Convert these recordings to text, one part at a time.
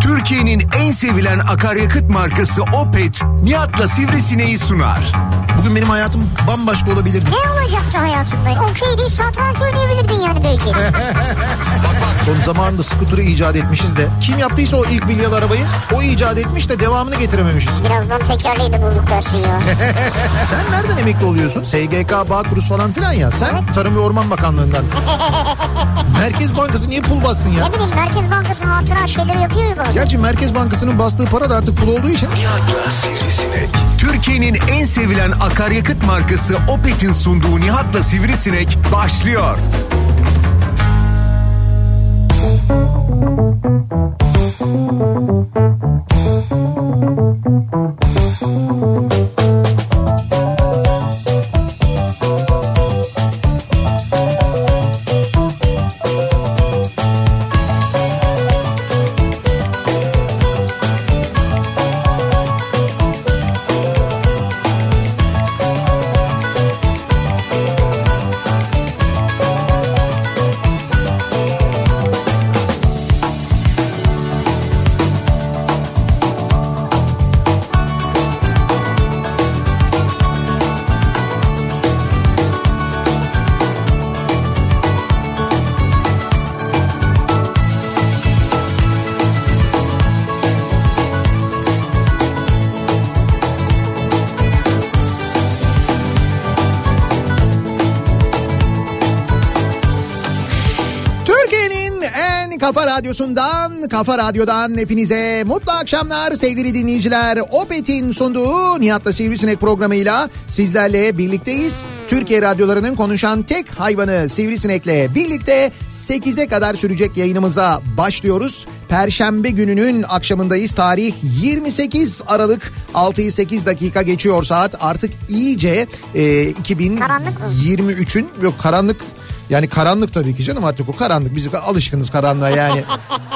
Türkiye'nin en sevilen akaryakıt markası Opet, Nihat'la Sivrisine'yi sunar. Bugün benim hayatım bambaşka olabilirdi. Ne olacaktı hayatında? Okey değil satranç oynayabilirdin yani belki. Son zamanında skuturu icat etmişiz de. Kim yaptıysa o ilk milyar arabayı o icat etmiş de devamını getirememişiz. Birazdan tekerleği de bulduk dersin ya. Sen nereden emekli oluyorsun? SGK, Bağkuruz falan filan ya. Sen Tarım ve Orman Bakanlığından. Merkez Bankası niye pul bassın ya? ne bileyim Merkez Bankası'nın hatıra şeyleri yapıyor ya bazen. Gerçi Merkez Bankası'nın bastığı para da artık pul olduğu için Nihat'la Sivrisinek. Türkiye'nin en sevilen akaryakıt markası Opet'in sunduğu Nihat'la Sivrisinek başlıyor. Türkiye'nin en kafa radyosundan, kafa radyodan hepinize mutlu akşamlar sevgili dinleyiciler. Opet'in sunduğu Nihat'la Sivrisinek programıyla sizlerle birlikteyiz. Türkiye radyolarının konuşan tek hayvanı Sivrisinek'le birlikte 8'e kadar sürecek yayınımıza başlıyoruz. Perşembe gününün akşamındayız. Tarih 28 Aralık 6'yı 8 dakika geçiyor saat. Artık iyice e, 2023'ün yok karanlık yani karanlık tabii ki canım artık o karanlık. Biz alışkınız karanlığa yani.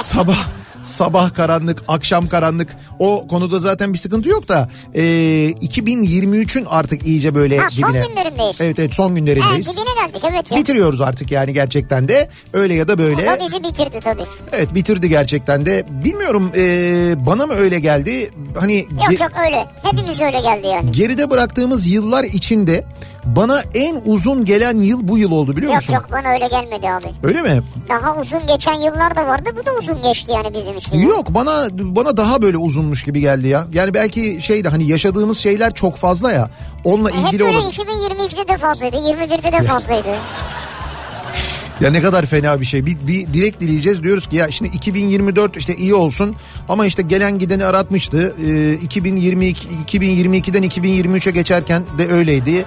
sabah sabah karanlık, akşam karanlık. O konuda zaten bir sıkıntı yok da e, 2023'ün artık iyice böyle Ha, son dibine- günlerindeyiz. Evet evet son Ha, günlerindeyiz. dibine geldik evet ya. Bitiriyoruz artık yani gerçekten de öyle ya da böyle. O bizi bitirdi tabii. Evet bitirdi gerçekten de. Bilmiyorum e, bana mı öyle geldi? Hani ge- Yok yok öyle. Hepimiz öyle geldi yani. geride bıraktığımız yıllar içinde bana en uzun gelen yıl bu yıl oldu biliyor Yok musun? yok bana öyle gelmedi abi. Öyle mi? Daha uzun geçen yıllar da vardı. Bu da uzun geçti yani bizim için. Yok bana bana daha böyle uzunmuş gibi geldi ya. Yani belki şey de hani yaşadığımız şeyler çok fazla ya. Onunla E, Hep ilgili böyle olabilir. 2022'de de fazlaydı. 21'de de fazlaydı. Ya ne kadar fena bir şey. Bir, bir dilek dileyeceğiz diyoruz ki ya şimdi 2024 işte iyi olsun ama işte gelen gideni aratmıştı. Ee, 2022 2022'den 2023'e geçerken de öyleydi.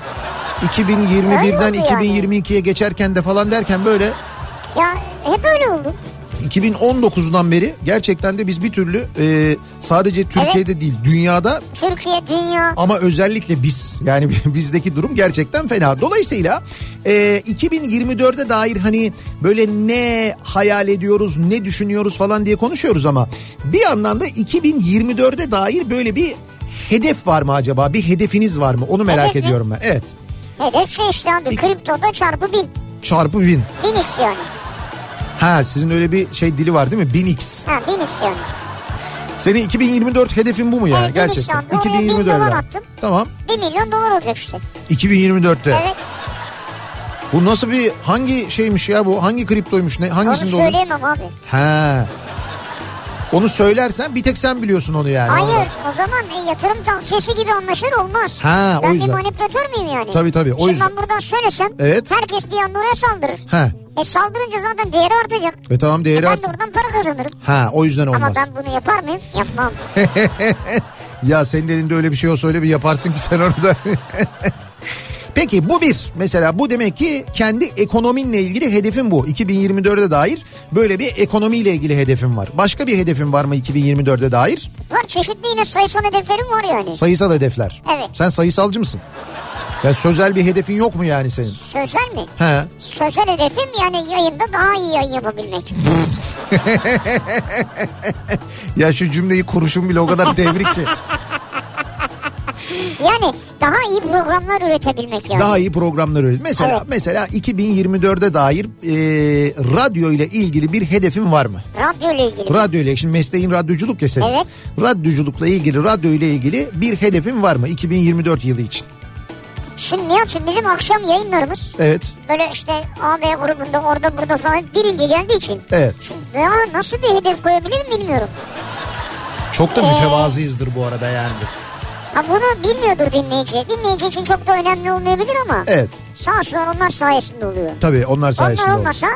2021'den Öyle oldu yani. 2022'ye geçerken de falan derken böyle ya hep öyle oldu. 2019'dan beri gerçekten de biz bir türlü e, sadece Türkiye'de değil dünyada Türkiye, dünya. Ama özellikle biz yani bizdeki durum gerçekten fena. Dolayısıyla e, 2024'e dair hani böyle ne hayal ediyoruz ne düşünüyoruz falan diye konuşuyoruz ama bir yandan da 2024'e dair böyle bir hedef var mı acaba? Bir hedefiniz var mı? Onu merak Hedef mi? ediyorum ben. Evet. Hedefse işte abi. Kriptoda çarpı bin. Çarpı bin. Bin x yani. Ha sizin öyle bir şey dili var değil mi? 1000x. Ha bin x yani. Senin 2024 hedefin bu mu yani? Evet, 1000x gerçekten. abi. Oraya 1000 2024'de. dolar attım. Tamam. Bir milyon dolar olacak işte. 2024'te. Evet. Bu nasıl bir hangi şeymiş ya bu? Hangi kriptoymuş? Ne Onu hangisinde olur? söyleyemem abi. He. Onu söylersen bir tek sen biliyorsun onu yani. Hayır o zaman e, yatırım tavsiyesi gibi anlaşır olmaz. Ha, o ben yüzden. bir manipülatör müyüm yani? Tabii, tabii, o Şimdi yüzden. ben buradan söylesem Evet. herkes bir anda oraya saldırır. He. E saldırınca zaten değeri artacak. Ve tamam değeri Ben art. de oradan para kazanırım. Ha o yüzden olmaz. Ama ben bunu yapar mıyım? Yapmam. Ya senin elinde öyle bir şey olsa öyle bir yaparsın ki sen orada. Peki bu bir mesela bu demek ki kendi ekonominle ilgili hedefin bu. 2024'e dair böyle bir ekonomiyle ilgili hedefin var. Başka bir hedefin var mı 2024'e dair? Var çeşitli yine sayısal hedeflerim var yani. Sayısal hedefler. Evet. Sen sayısalcı mısın? Ya sözel bir hedefin yok mu yani senin? Sözel mi? He. Sözel hedefim yani yayında daha iyi yayın yapabilmek. Ya şu cümleyi kuruşun bile o kadar devrik ki. yani daha iyi programlar üretebilmek yani. Daha iyi programlar öyle. Mesela Evet. mesela 2024'e dair e, radyo ile ilgili bir hedefin var mı? Radyo ile ilgili. Radyo ile şimdi mesleğin radyoculuk ya senin. Evet. Radyoculukla ilgili radyo ile ilgili bir hedefin var mı 2024 yılı için? Şimdi Nihat'cığım bizim akşam yayınlarımız Evet. böyle işte AB grubunda orada burada falan birinci geldiği için. Evet. Şimdi daha nasıl bir hedef koyabilirim bilmiyorum. Çok Ee? da mütevazıyızdır bu arada yani. Ha bunu bilmiyordur dinleyici. Dinleyici için çok da önemli olmayabilir ama. Evet. Sağ olsunlar onlar sayesinde oluyor. Tabii onlar E. sayesinde onlar oldu. olmasa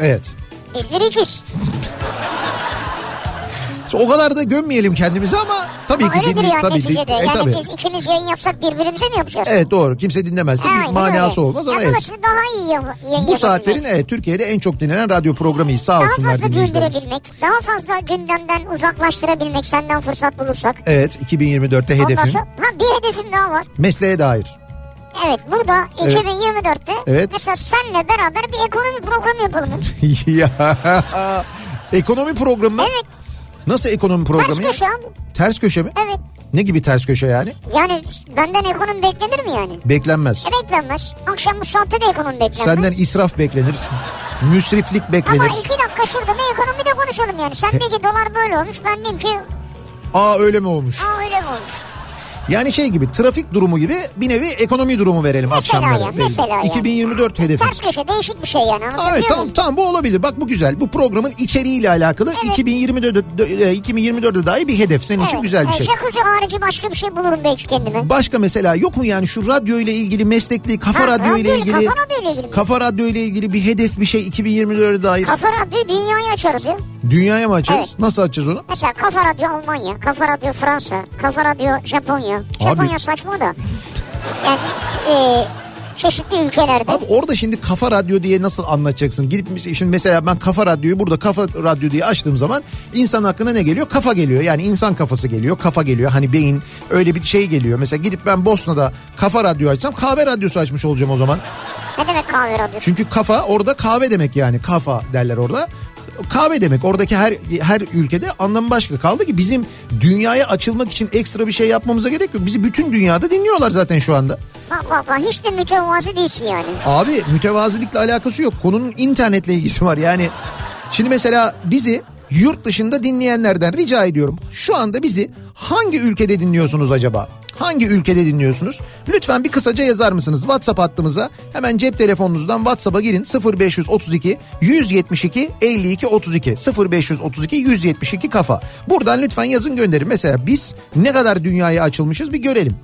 Evet. biz biriciz. O kadar da gömmeyelim kendimizi ama tabii Ama ki öyledir dinle- yani tabii neticede. ki. E, yani tabii. biz ikimiz yayın yapsak birbirimize mi yapacağız? Evet doğru. Kimse dinlemezse Ha, bir manası öyle. olmaz ama Ya evet. dolayısıyla daha iyi yap- yayın Bu yapabilmek. saatlerin evet Türkiye'de en çok dinlenen radyo programıyız. Sağ daha olsunlar fazla dinleyicilerimiz. güldürebilmek, daha fazla gündemden uzaklaştırabilmek senden fırsat bulursak. Evet 2024'te Ondan E, hedefim sonra ha, bir hedefim daha var. mesleğe dair. Evet burada 2024'te Evet. mesela senle beraber bir ekonomi programı yapalım. ya. Ekonomi programı mı? evet Nasıl ekonomi programı ters ya? köşe abi. Ters köşe mi? Evet Ne gibi ters köşe yani? yani benden ekonomi beklenir mi yani? Beklenmez. E beklenmez. Akşam bu saatte de ekonomi beklenmez. Senden israf beklenir. Müsriflik Ama beklenir. iki dakika şurada bir ekonomi de konuşalım yani. Sen de ki dolar böyle olmuş ben diyeyim ki Aa öyle mi olmuş? aa öyle mi olmuş? Yani şey gibi trafik durumu gibi bir nevi ekonomi durumu verelim Mesela akşamları. ya, Belli. mesela ya. 2024 hedefi. Ters köşe değişik bir şey yani Aa, Evet anlatabiliyor tamam muyum? tamam bu olabilir. Bak bu güzel. Bu programın içeriğiyle alakalı Evet. 2024 e, 2024'e dair bir hedef. Senin için Evet. güzel bir E, şey. Jacuzzi harici başka bir şey bulurum belki kendime. Başka mesela yok mu yani şu radyo ile ilgili meslekli kafa Ha, radyo ile radyoyla- ilgili kafa radyoyla ilgili mi? kafa radyo ile ilgili bir hedef bir şey 2024'e dair Kafa Radyo dünyayı açarız ya. dünyaya mı açarız? Evet. Nasıl açacağız onu? Mesela Kafa Radyo Almanya, Kafa Radyo Fransa, Kafa Radyo Japonya. Japonya saçma da. Yani e, çeşitli ülkelerde. Abi orada şimdi kafa radyo diye nasıl anlatacaksın? Gidip mes- şimdi mesela ben kafa radyoyu burada kafa radyo diye açtığım zaman insan hakkında ne geliyor? Kafa geliyor. Yani insan kafası geliyor. Kafa geliyor. Hani beyin öyle bir şey geliyor. Mesela gidip ben Bosna'da kafa radyo açsam kahve radyosu açmış olacağım o zaman. Ne demek kahve radyosu? Çünkü kafa orada kahve demek yani. Kafa derler orada. Kahve demek oradaki her her ülkede anlamı başka kaldı ki bizim dünyaya açılmak için ekstra bir şey yapmamıza gerek yok. Bizi bütün dünyada dinliyorlar zaten şu anda. Bak bak bak hiç de mütevazı değilsin yani. Abi mütevazilikle alakası yok. Konunun internetle ilgisi var. Yani şimdi mesela bizi yurt dışında dinleyenlerden rica ediyorum. Şu anda bizi hangi ülkede dinliyorsunuz acaba? Hangi ülkede dinliyorsunuz? Lütfen bir kısaca yazar mısınız? WhatsApp hattımıza hemen cep telefonunuzdan WhatsApp'a girin 0532 172 52 32 0532 172 kafa. Buradan lütfen yazın gönderin. Mesela biz ne kadar dünyaya açılmışız bir görelim.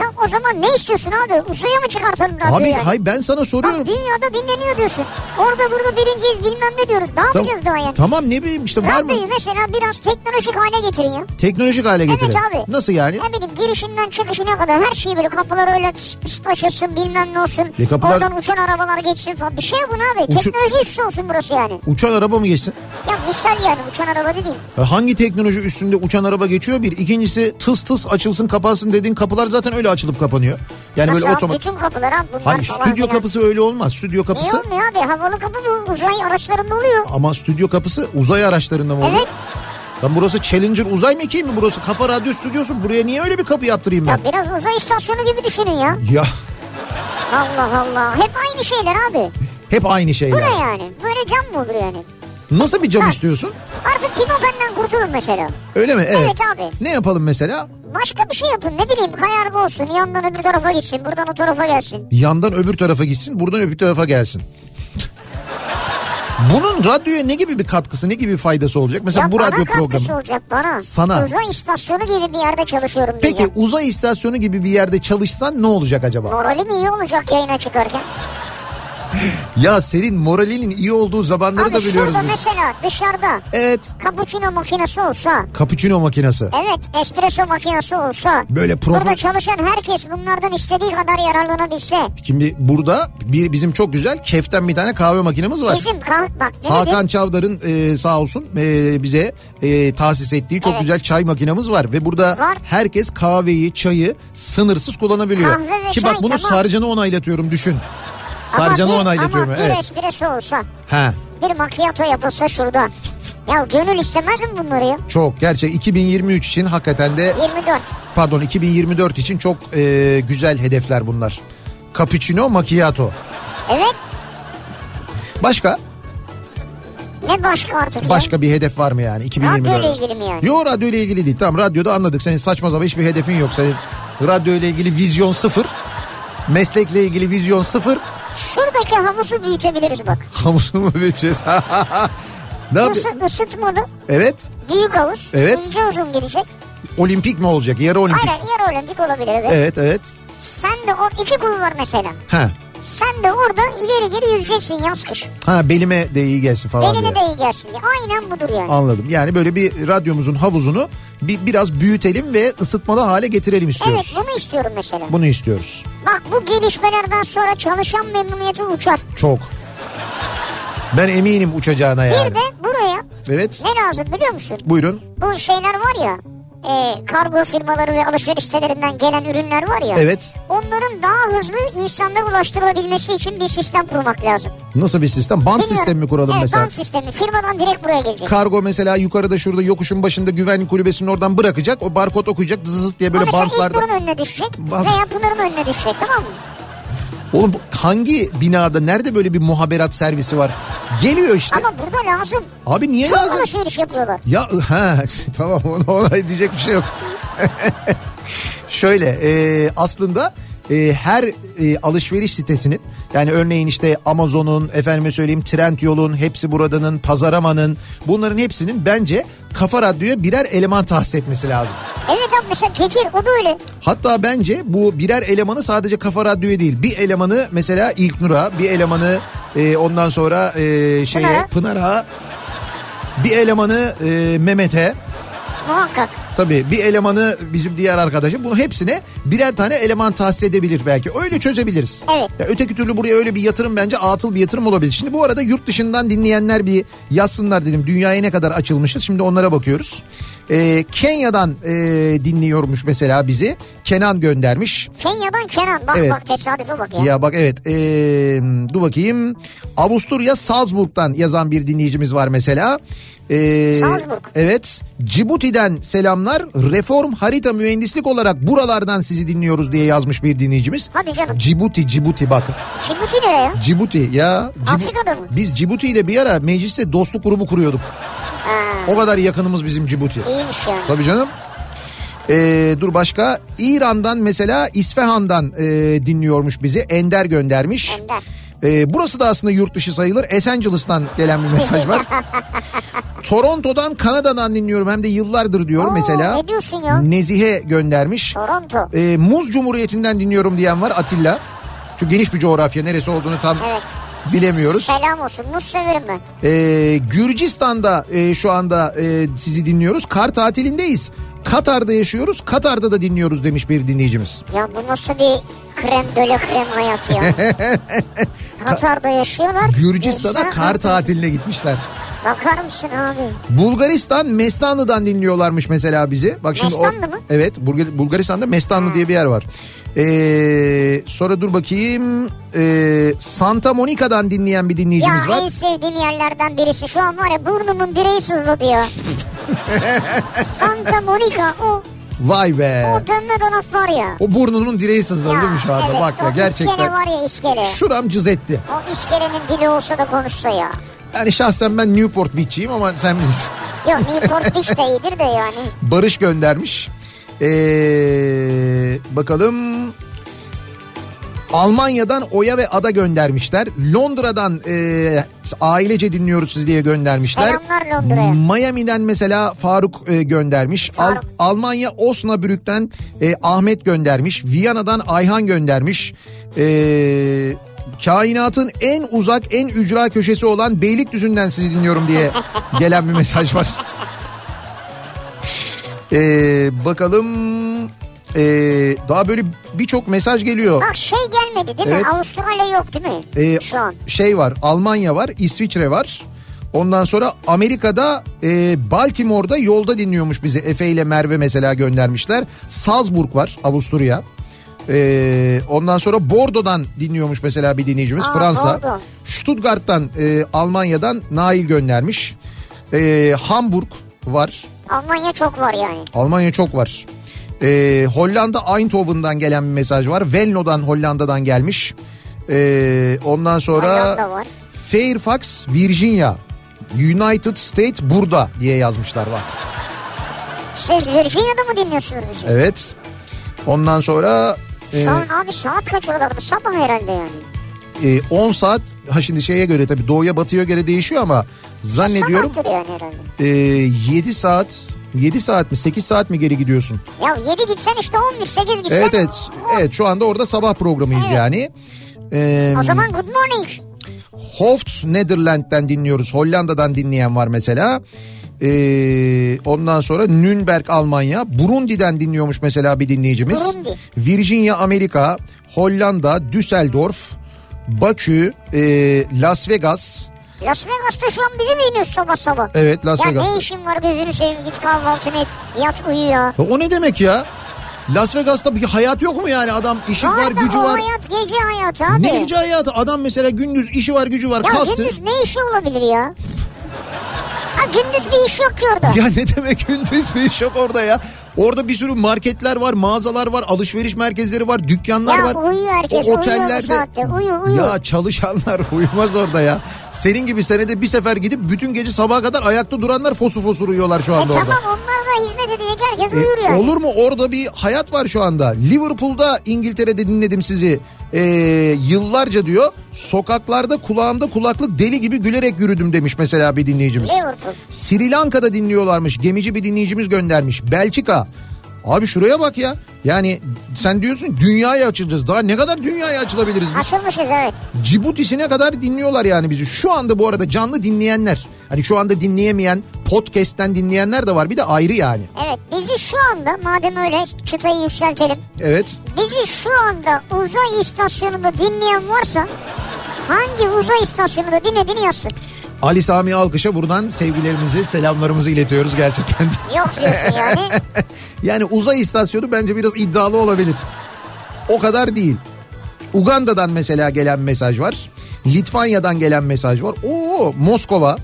Ya o zaman ne istiyorsun abi? Uzaya mı çıkartalım radyoyu? Abi yani? hay ben sana soruyorum. Bak dünyada dinleniyor diyorsun. Orada burada birinciyiz bilmem ne diyoruz. Ne Tam- yapacağız daha yani? Tamam ne bileyim işte var mı? Radyoyu mesela biraz teknolojik hale getirin ya. Teknolojik hale getirin. Evet abi. Nasıl yani? Ne bileyim girişinden çıkışına kadar her şeyi böyle kapılar öyle pıs pıs açılsın bilmem ne olsun. E kapılar- Oradan uçan arabalar geçsin falan. Bir şey bu abi. Uçu- Teknoloji üstü olsun burası yani. Uçan araba mı geçsin? Ya misal yani uçan araba dediğim. E, Hangi teknoloji üstünde uçan araba geçiyor bir. İkincisi tıs tıs açılsın kapansın dediğin kapılar zaten öyle açılıp kapanıyor. Yani Nasıl böyle abi? otomatik. Bütün kapılar abi bunlar Hayır falan stüdyo filan. kapısı öyle olmaz. Stüdyo Niye kapısı olmuyor abi? Havalı kapı bu. Uzay araçlarında oluyor. ama stüdyo kapısı uzay araçlarında mı oluyor? Evet. Lan burası Challenger uzay mekiği mi burası? Kafa radyo stüdyosu. Buraya niye öyle bir kapı yaptırayım ben? Ya biraz uzay istasyonu gibi düşünün ya. Ya Allah Allah. Hep aynı şeyler abi. hep aynı Bu şeyler. ne yani? Böyle cam mı olur yani? Nasıl bir cam Ha. istiyorsun? Artık Pino benden kurtulun mesela. Öyle mi? Evet abi. Ne yapalım mesela? Başka bir şey yapın ne bileyim kayarga olsun yandan öbür tarafa gitsin buradan o tarafa gelsin. yandan öbür tarafa gitsin buradan öbür tarafa gelsin. Bunun radyoya ne gibi bir katkısı ne gibi bir faydası olacak? Mesela ya bu bana radyo katkısı programı. olacak bana. Sana. Uzay istasyonu gibi bir yerde çalışıyorum Peki diyeceğim. uzay istasyonu gibi bir yerde çalışsan ne olacak acaba? Moralim iyi olacak yayına çıkarken. Ya senin moralinin iyi olduğu zamanları Abi da biliyoruz şurada biz. mesela dışarıda Evet. cappuccino makinesi olsa Cappuccino makinesi. evet espresso makinesi olsa Böyle profe- burada çalışan herkes bunlardan istediği kadar yararlanabilse. Şimdi burada bir bizim çok güzel keften bir tane kahve makinemiz var. Bizim kah- bak ne dedim? Hakan Çavdar'ın e, sağ olsun e, bize e, tahsis ettiği çok Evet. güzel çay makinamız var ve burada Var. herkes kahveyi, çayı sınırsız kullanabiliyor. Kahve ve Ki çay, bak bunu tamam. sarcanı onaylatıyorum düşün. Ama Sarcanı bir- onaylatıyorum Ama bir evet. espresso olsa Ha. bir macchiato yapılsa şurada. Ya gönül istemez mi bunları ya? Çok gerçek 2023 için hakikaten de 24. pardon 2024 için çok e, güzel hedefler bunlar. Cappuccino macchiato. Evet. Başka? Ne başka artık ya? Başka bir hedef var mı yani 2024? Radyoyla ilgili mi yani? Yok radyoyla ilgili değil. Tamam radyoda anladık. Senin saçma sapan hiçbir hedefin yok. Senin radyoyla ilgili vizyon sıfır. Meslekle ilgili vizyon sıfır. Şuradaki havuzu büyütebiliriz bak. Hamuzu mu biçeceğiz? ne yap- Isı, ısıtmalı. Evet. Büyük havuz. Evet. ince uzun gidecek. Olimpik mi olacak? Yarı olimpik. Aynen yarı olimpik olabilir evet. Evet evet. Sen de or iki kul var mesela. Ha. Sen de orada ileri geri yürüyeceksin yaz kış. Ha belime de iyi gelsin falan Beline de diye. iyi gelsin diye. Aynen budur yani. Anladım. Yani böyle bir radyomuzun havuzunu bir, biraz büyütelim ve ısıtmalı hale getirelim evet istiyoruz. bunu istiyorum mesela. Bunu istiyoruz. Bak bu gelişmelerden sonra çalışan memnuniyeti uçar. Çok. Ben eminim uçacağına yani. Bir de buraya Evet. ne lazım biliyor musun? Buyurun. Bu şeyler var ya e, kargo firmaları ve alışveriş sitelerinden gelen ürünler var ya. Evet. Onların daha hızlı insanlara ulaştırılabilmesi için bir sistem kurmak lazım. Nasıl bir sistem? Bant Bilmiyorum. sistemi mi kuralım evet, mesela? Bank sistemi firmadan direkt buraya gelecek. Kargo mesela yukarıda şurada yokuşun başında güvenlik kulübesinin oradan bırakacak. O barkod okuyacak zızıt diye böyle Ama şey, mesela bantlarda. İlknur'un önüne düşecek Bant- veya Pınar'ın önüne düşecek tamam mı? Oğlum bu hangi binada nerede böyle bir muhaberat servisi var? Geliyor işte. Ama burada lazım. Abi niye Çok E- lazım? alışveriş yapıyorlar. Ya ha tamam ona, ona diyecek bir şey yok. Şöyle e, aslında e, her e, alışveriş sitesinin yani örneğin işte Amazon'un efendime söyleyeyim Trendyol'un hepsi buradanın Pazarama'nın bunların hepsinin bence Kafa Radyo'ya birer eleman tahsis etmesi lazım. Evet abi mesela Tekir o da öyle. Hatta bence bu birer elemanı sadece Kafa Radyo'ya değil bir elemanı mesela İlknur'a bir elemanı e, ondan sonra e, şeye Pınar'a. Pınar'a bir elemanı e, Mehmet'e Muhakkak. Tabii bir elemanı bizim diğer arkadaşım bunu hepsine birer tane eleman tahsis edebilir belki. Öyle çözebiliriz. Evet. Ya öteki türlü buraya öyle bir yatırım bence atıl bir yatırım olabilir. Şimdi bu arada yurt dışından dinleyenler bir yazsınlar dedim. Dünyaya ne kadar açılmışız şimdi onlara bakıyoruz. Ee, Kenya'dan e, dinliyormuş mesela bizi. Kenan göndermiş. Kenya'dan Kenan bak Evet. bak tesadüfe bak ya. Ya bak evet ee, dur bakayım. Avusturya Salzburg'dan yazan bir dinleyicimiz var mesela. Ee, Salzburg. Evet. Cibuti'den selamlar. Reform harita mühendislik olarak buralardan sizi dinliyoruz diye yazmış bir dinleyicimiz. Hadi canım. Cibuti, Cibuti bak. Cibuti nereye ya? Cibuti ya. Cibu- Afrika'da mı? Biz Cibuti ile bir ara mecliste dostluk grubu kuruyorduk. O kadar yakınımız bizim Cibuti. İyiymiş yani. Tabii canım. Ee, dur başka İran'dan mesela İsfahan'dan e, dinliyormuş bizi Ender göndermiş. Ender. Ee, burası da aslında yurt dışı sayılır. Los Angeles'tan gelen bir mesaj var. Toronto'dan Kanada'dan dinliyorum hem de yıllardır diyor Oo, mesela. ne diyorsun ya? Nezihe göndermiş. Toronto. Ee, Muz Cumhuriyeti'nden dinliyorum diyen var Atilla. Çünkü geniş bir coğrafya neresi olduğunu tam Evet. bilemiyoruz. Selam olsun. Muz severim ben. Ee, Gürcistan'da e, şu anda e, sizi dinliyoruz. Kar tatilindeyiz. Katar'da yaşıyoruz. Katar'da da dinliyoruz demiş bir dinleyicimiz. Ya bu nasıl bir krem döle krem hayat ya. Katar'da yaşıyorlar. Gürcistan'a İnsan- kar tatiline gitmişler. Bakar mısın abi? Bulgaristan Mestanlı'dan dinliyorlarmış mesela bizi. Bak şimdi o- Mestanlı mı? Evet Bulga- Bulgaristan'da Mestanlı diye bir yer var. Ee, sonra dur bakayım. Ee, Santa Monica'dan dinleyen bir Ya dinleyicimiz var. en sevdiğim yerlerden birisi şu an var ya burnumun direği sızladı ya. Santa Monica o, Vay be. o dönme dolap var ya. O burnunun direği sızladı değil mi şu anda? evet, Bak ya o iskele gerçekten. var ya iskele. Şuram cız etti. O iskelenin dili olsa da konuşsa ya. Yani şahsen ben Newport Beach'iyim ama sen bilirsin. Yok Newport Beach de iyidir de yani. Barış göndermiş. Ee, bakalım. Almanya'dan Oya ve Ada göndermişler. Londra'dan ee, ailece dinliyoruz siz diye göndermişler. Selamlar Londra'ya. Miami'den mesela Faruk ee, göndermiş. Al- Faruk. Almanya Osnabrück'ten ee, Ahmet göndermiş. Viyana'dan Ayhan göndermiş. Ee, kainatın en uzak en ücra köşesi olan Beylikdüzü'nden sizi dinliyorum diye gelen bir mesaj var. Ee, bakalım ee, daha böyle birçok mesaj geliyor. Bak şey gelmedi değil Evet. mi? Avustralya yok değil mi? Ee, Şu an. Şey var Almanya var İsviçre var. Ondan sonra Amerika'da ee, Baltimore'da yolda dinliyormuş bizi. Efe ile Merve mesela göndermişler. Salzburg var Avusturya. Ee, ondan sonra Bordo'dan dinliyormuş mesela bir dinleyicimiz Aa, Fransa. Bordo. Stuttgart'tan e, Almanya'dan Nail göndermiş. Ee, Hamburg var. Almanya çok var yani. Almanya çok var. Ee, Hollanda Eindhoven'dan gelen bir mesaj var. Venlo'dan Hollanda'dan gelmiş. Ee, ondan sonra Hollanda var. Fairfax Virginia United States burada diye yazmışlar var. Siz Virginia'da Şey, mı dinliyorsunuz bizi? Evet. Ondan sonra e, Şu an abi saat kaç oralarda? Sabah herhalde e, yani. 10 saat ha şimdi şeye göre tabii doğuya batıya göre değişiyor ama zannediyorum Sabahtır yani herhalde. e, 7 saat 7 saat mi 8 saat mi geri gidiyorsun? Ya 7 gitsen işte 11, 8 gitsen. Evet evet. Evet şu anda orada sabah programıyız Evet. yani. E, O zaman good morning. Hoft Netherland'den dinliyoruz. Hollanda'dan dinleyen var mesela. Ee, ondan sonra Nürnberg Almanya. Burundi'den dinliyormuş mesela bir dinleyicimiz. Burundi. Virginia Amerika. Hollanda, Düsseldorf, Bakü, e, Las Vegas. Las Vegas'ta şu an bizi mi iniyorsun sabah sabah? Evet Las ya ne Vegas'ta. işin var gözünü seveyim git kahvaltını et yat uyu ya. Ya O ne demek ya? Las Vegas'ta bir hayat yok mu yani? Adam işi var, Var da gücü o var. hayat gece hayatı abi. Ne gece hayatı? Adam mesela gündüz işi var, gücü var. Ya kalktı. gündüz ne işi olabilir ya? Ha gündüz bir iş yok ki orada. Ya ne demek gündüz bir iş yok orada ya. Orada bir sürü marketler var, mağazalar var, alışveriş merkezleri var, dükkanlar Ya var. uyuyor herkes, O uyuyor bu otellerde. saatte, uyu, uyu. Ya çalışanlar uyumaz orada ya. Senin gibi senede bir sefer gidip bütün gece sabaha kadar ayakta duranlar fosu fosur uyuyorlar şu E anda orada. tamam onlar da hizmet edecek herkes E, uyur yani. olur mu? Orada bir hayat var şu anda. Liverpool'da İngiltere'de dinledim sizi. E, yıllarca diyor sokaklarda kulağımda kulaklık deli gibi gülerek yürüdüm demiş mesela bir dinleyicimiz. Liverpool. Sri Lanka'da dinliyorlarmış. Gemici bir dinleyicimiz göndermiş. Belçika. Abi şuraya bak ya. Yani sen diyorsun dünyaya açılacağız. Daha ne kadar dünyaya açılabiliriz biz? Açılmışız evet. Cibutisi'ne kadar dinliyorlar yani bizi. Şu anda bu arada canlı dinleyenler. Hani şu anda dinleyemeyen podcast'ten dinleyenler de var. Bir de ayrı yani. Evet bizi şu anda madem öyle çıtayı yükseltelim. Evet. Bizi şu anda uzay istasyonunda dinleyen varsa hangi uzay istasyonunda dinlediğini yazsın. Ali Sami Alkış'a buradan sevgilerimizi, selamlarımızı iletiyoruz gerçekten. de. Yok diyorsun yani. yani uzay istasyonu bence biraz iddialı olabilir. O kadar değil. Uganda'dan mesela gelen mesaj var. Litvanya'dan gelen mesaj var. Oo Moskova.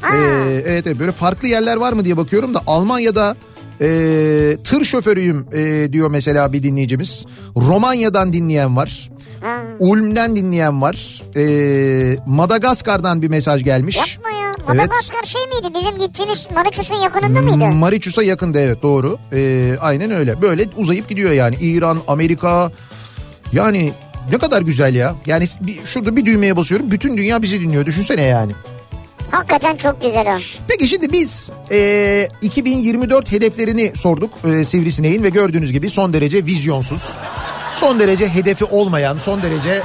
Ha. Ee, evet evet, böyle farklı yerler var mı diye bakıyorum da Almanya'da ee, tır şoförüyüm ee, diyor mesela bir dinleyicimiz. Romanya'dan dinleyen var. Ha. Ulm'den dinleyen var. Ee, Madagaskar'dan bir mesaj gelmiş. Yapma ya. Madagaskar şey miydi? Bizim gittiğimiz Mauritius'un yakınında mıydı? Mariçus'a yakında evet doğru. Ee, aynen öyle. Böyle uzayıp gidiyor yani. İran, Amerika. Yani ne kadar güzel ya. Yani bir- şurada bir düğmeye basıyorum. Bütün dünya bizi dinliyor. Düşünsene yani. Hakikaten çok güzel o. Peki şimdi biz e, 2024 hedeflerini sorduk e, Sivrisineğin ve gördüğünüz gibi son derece vizyonsuz. Son derece hedefi olmayan, son derece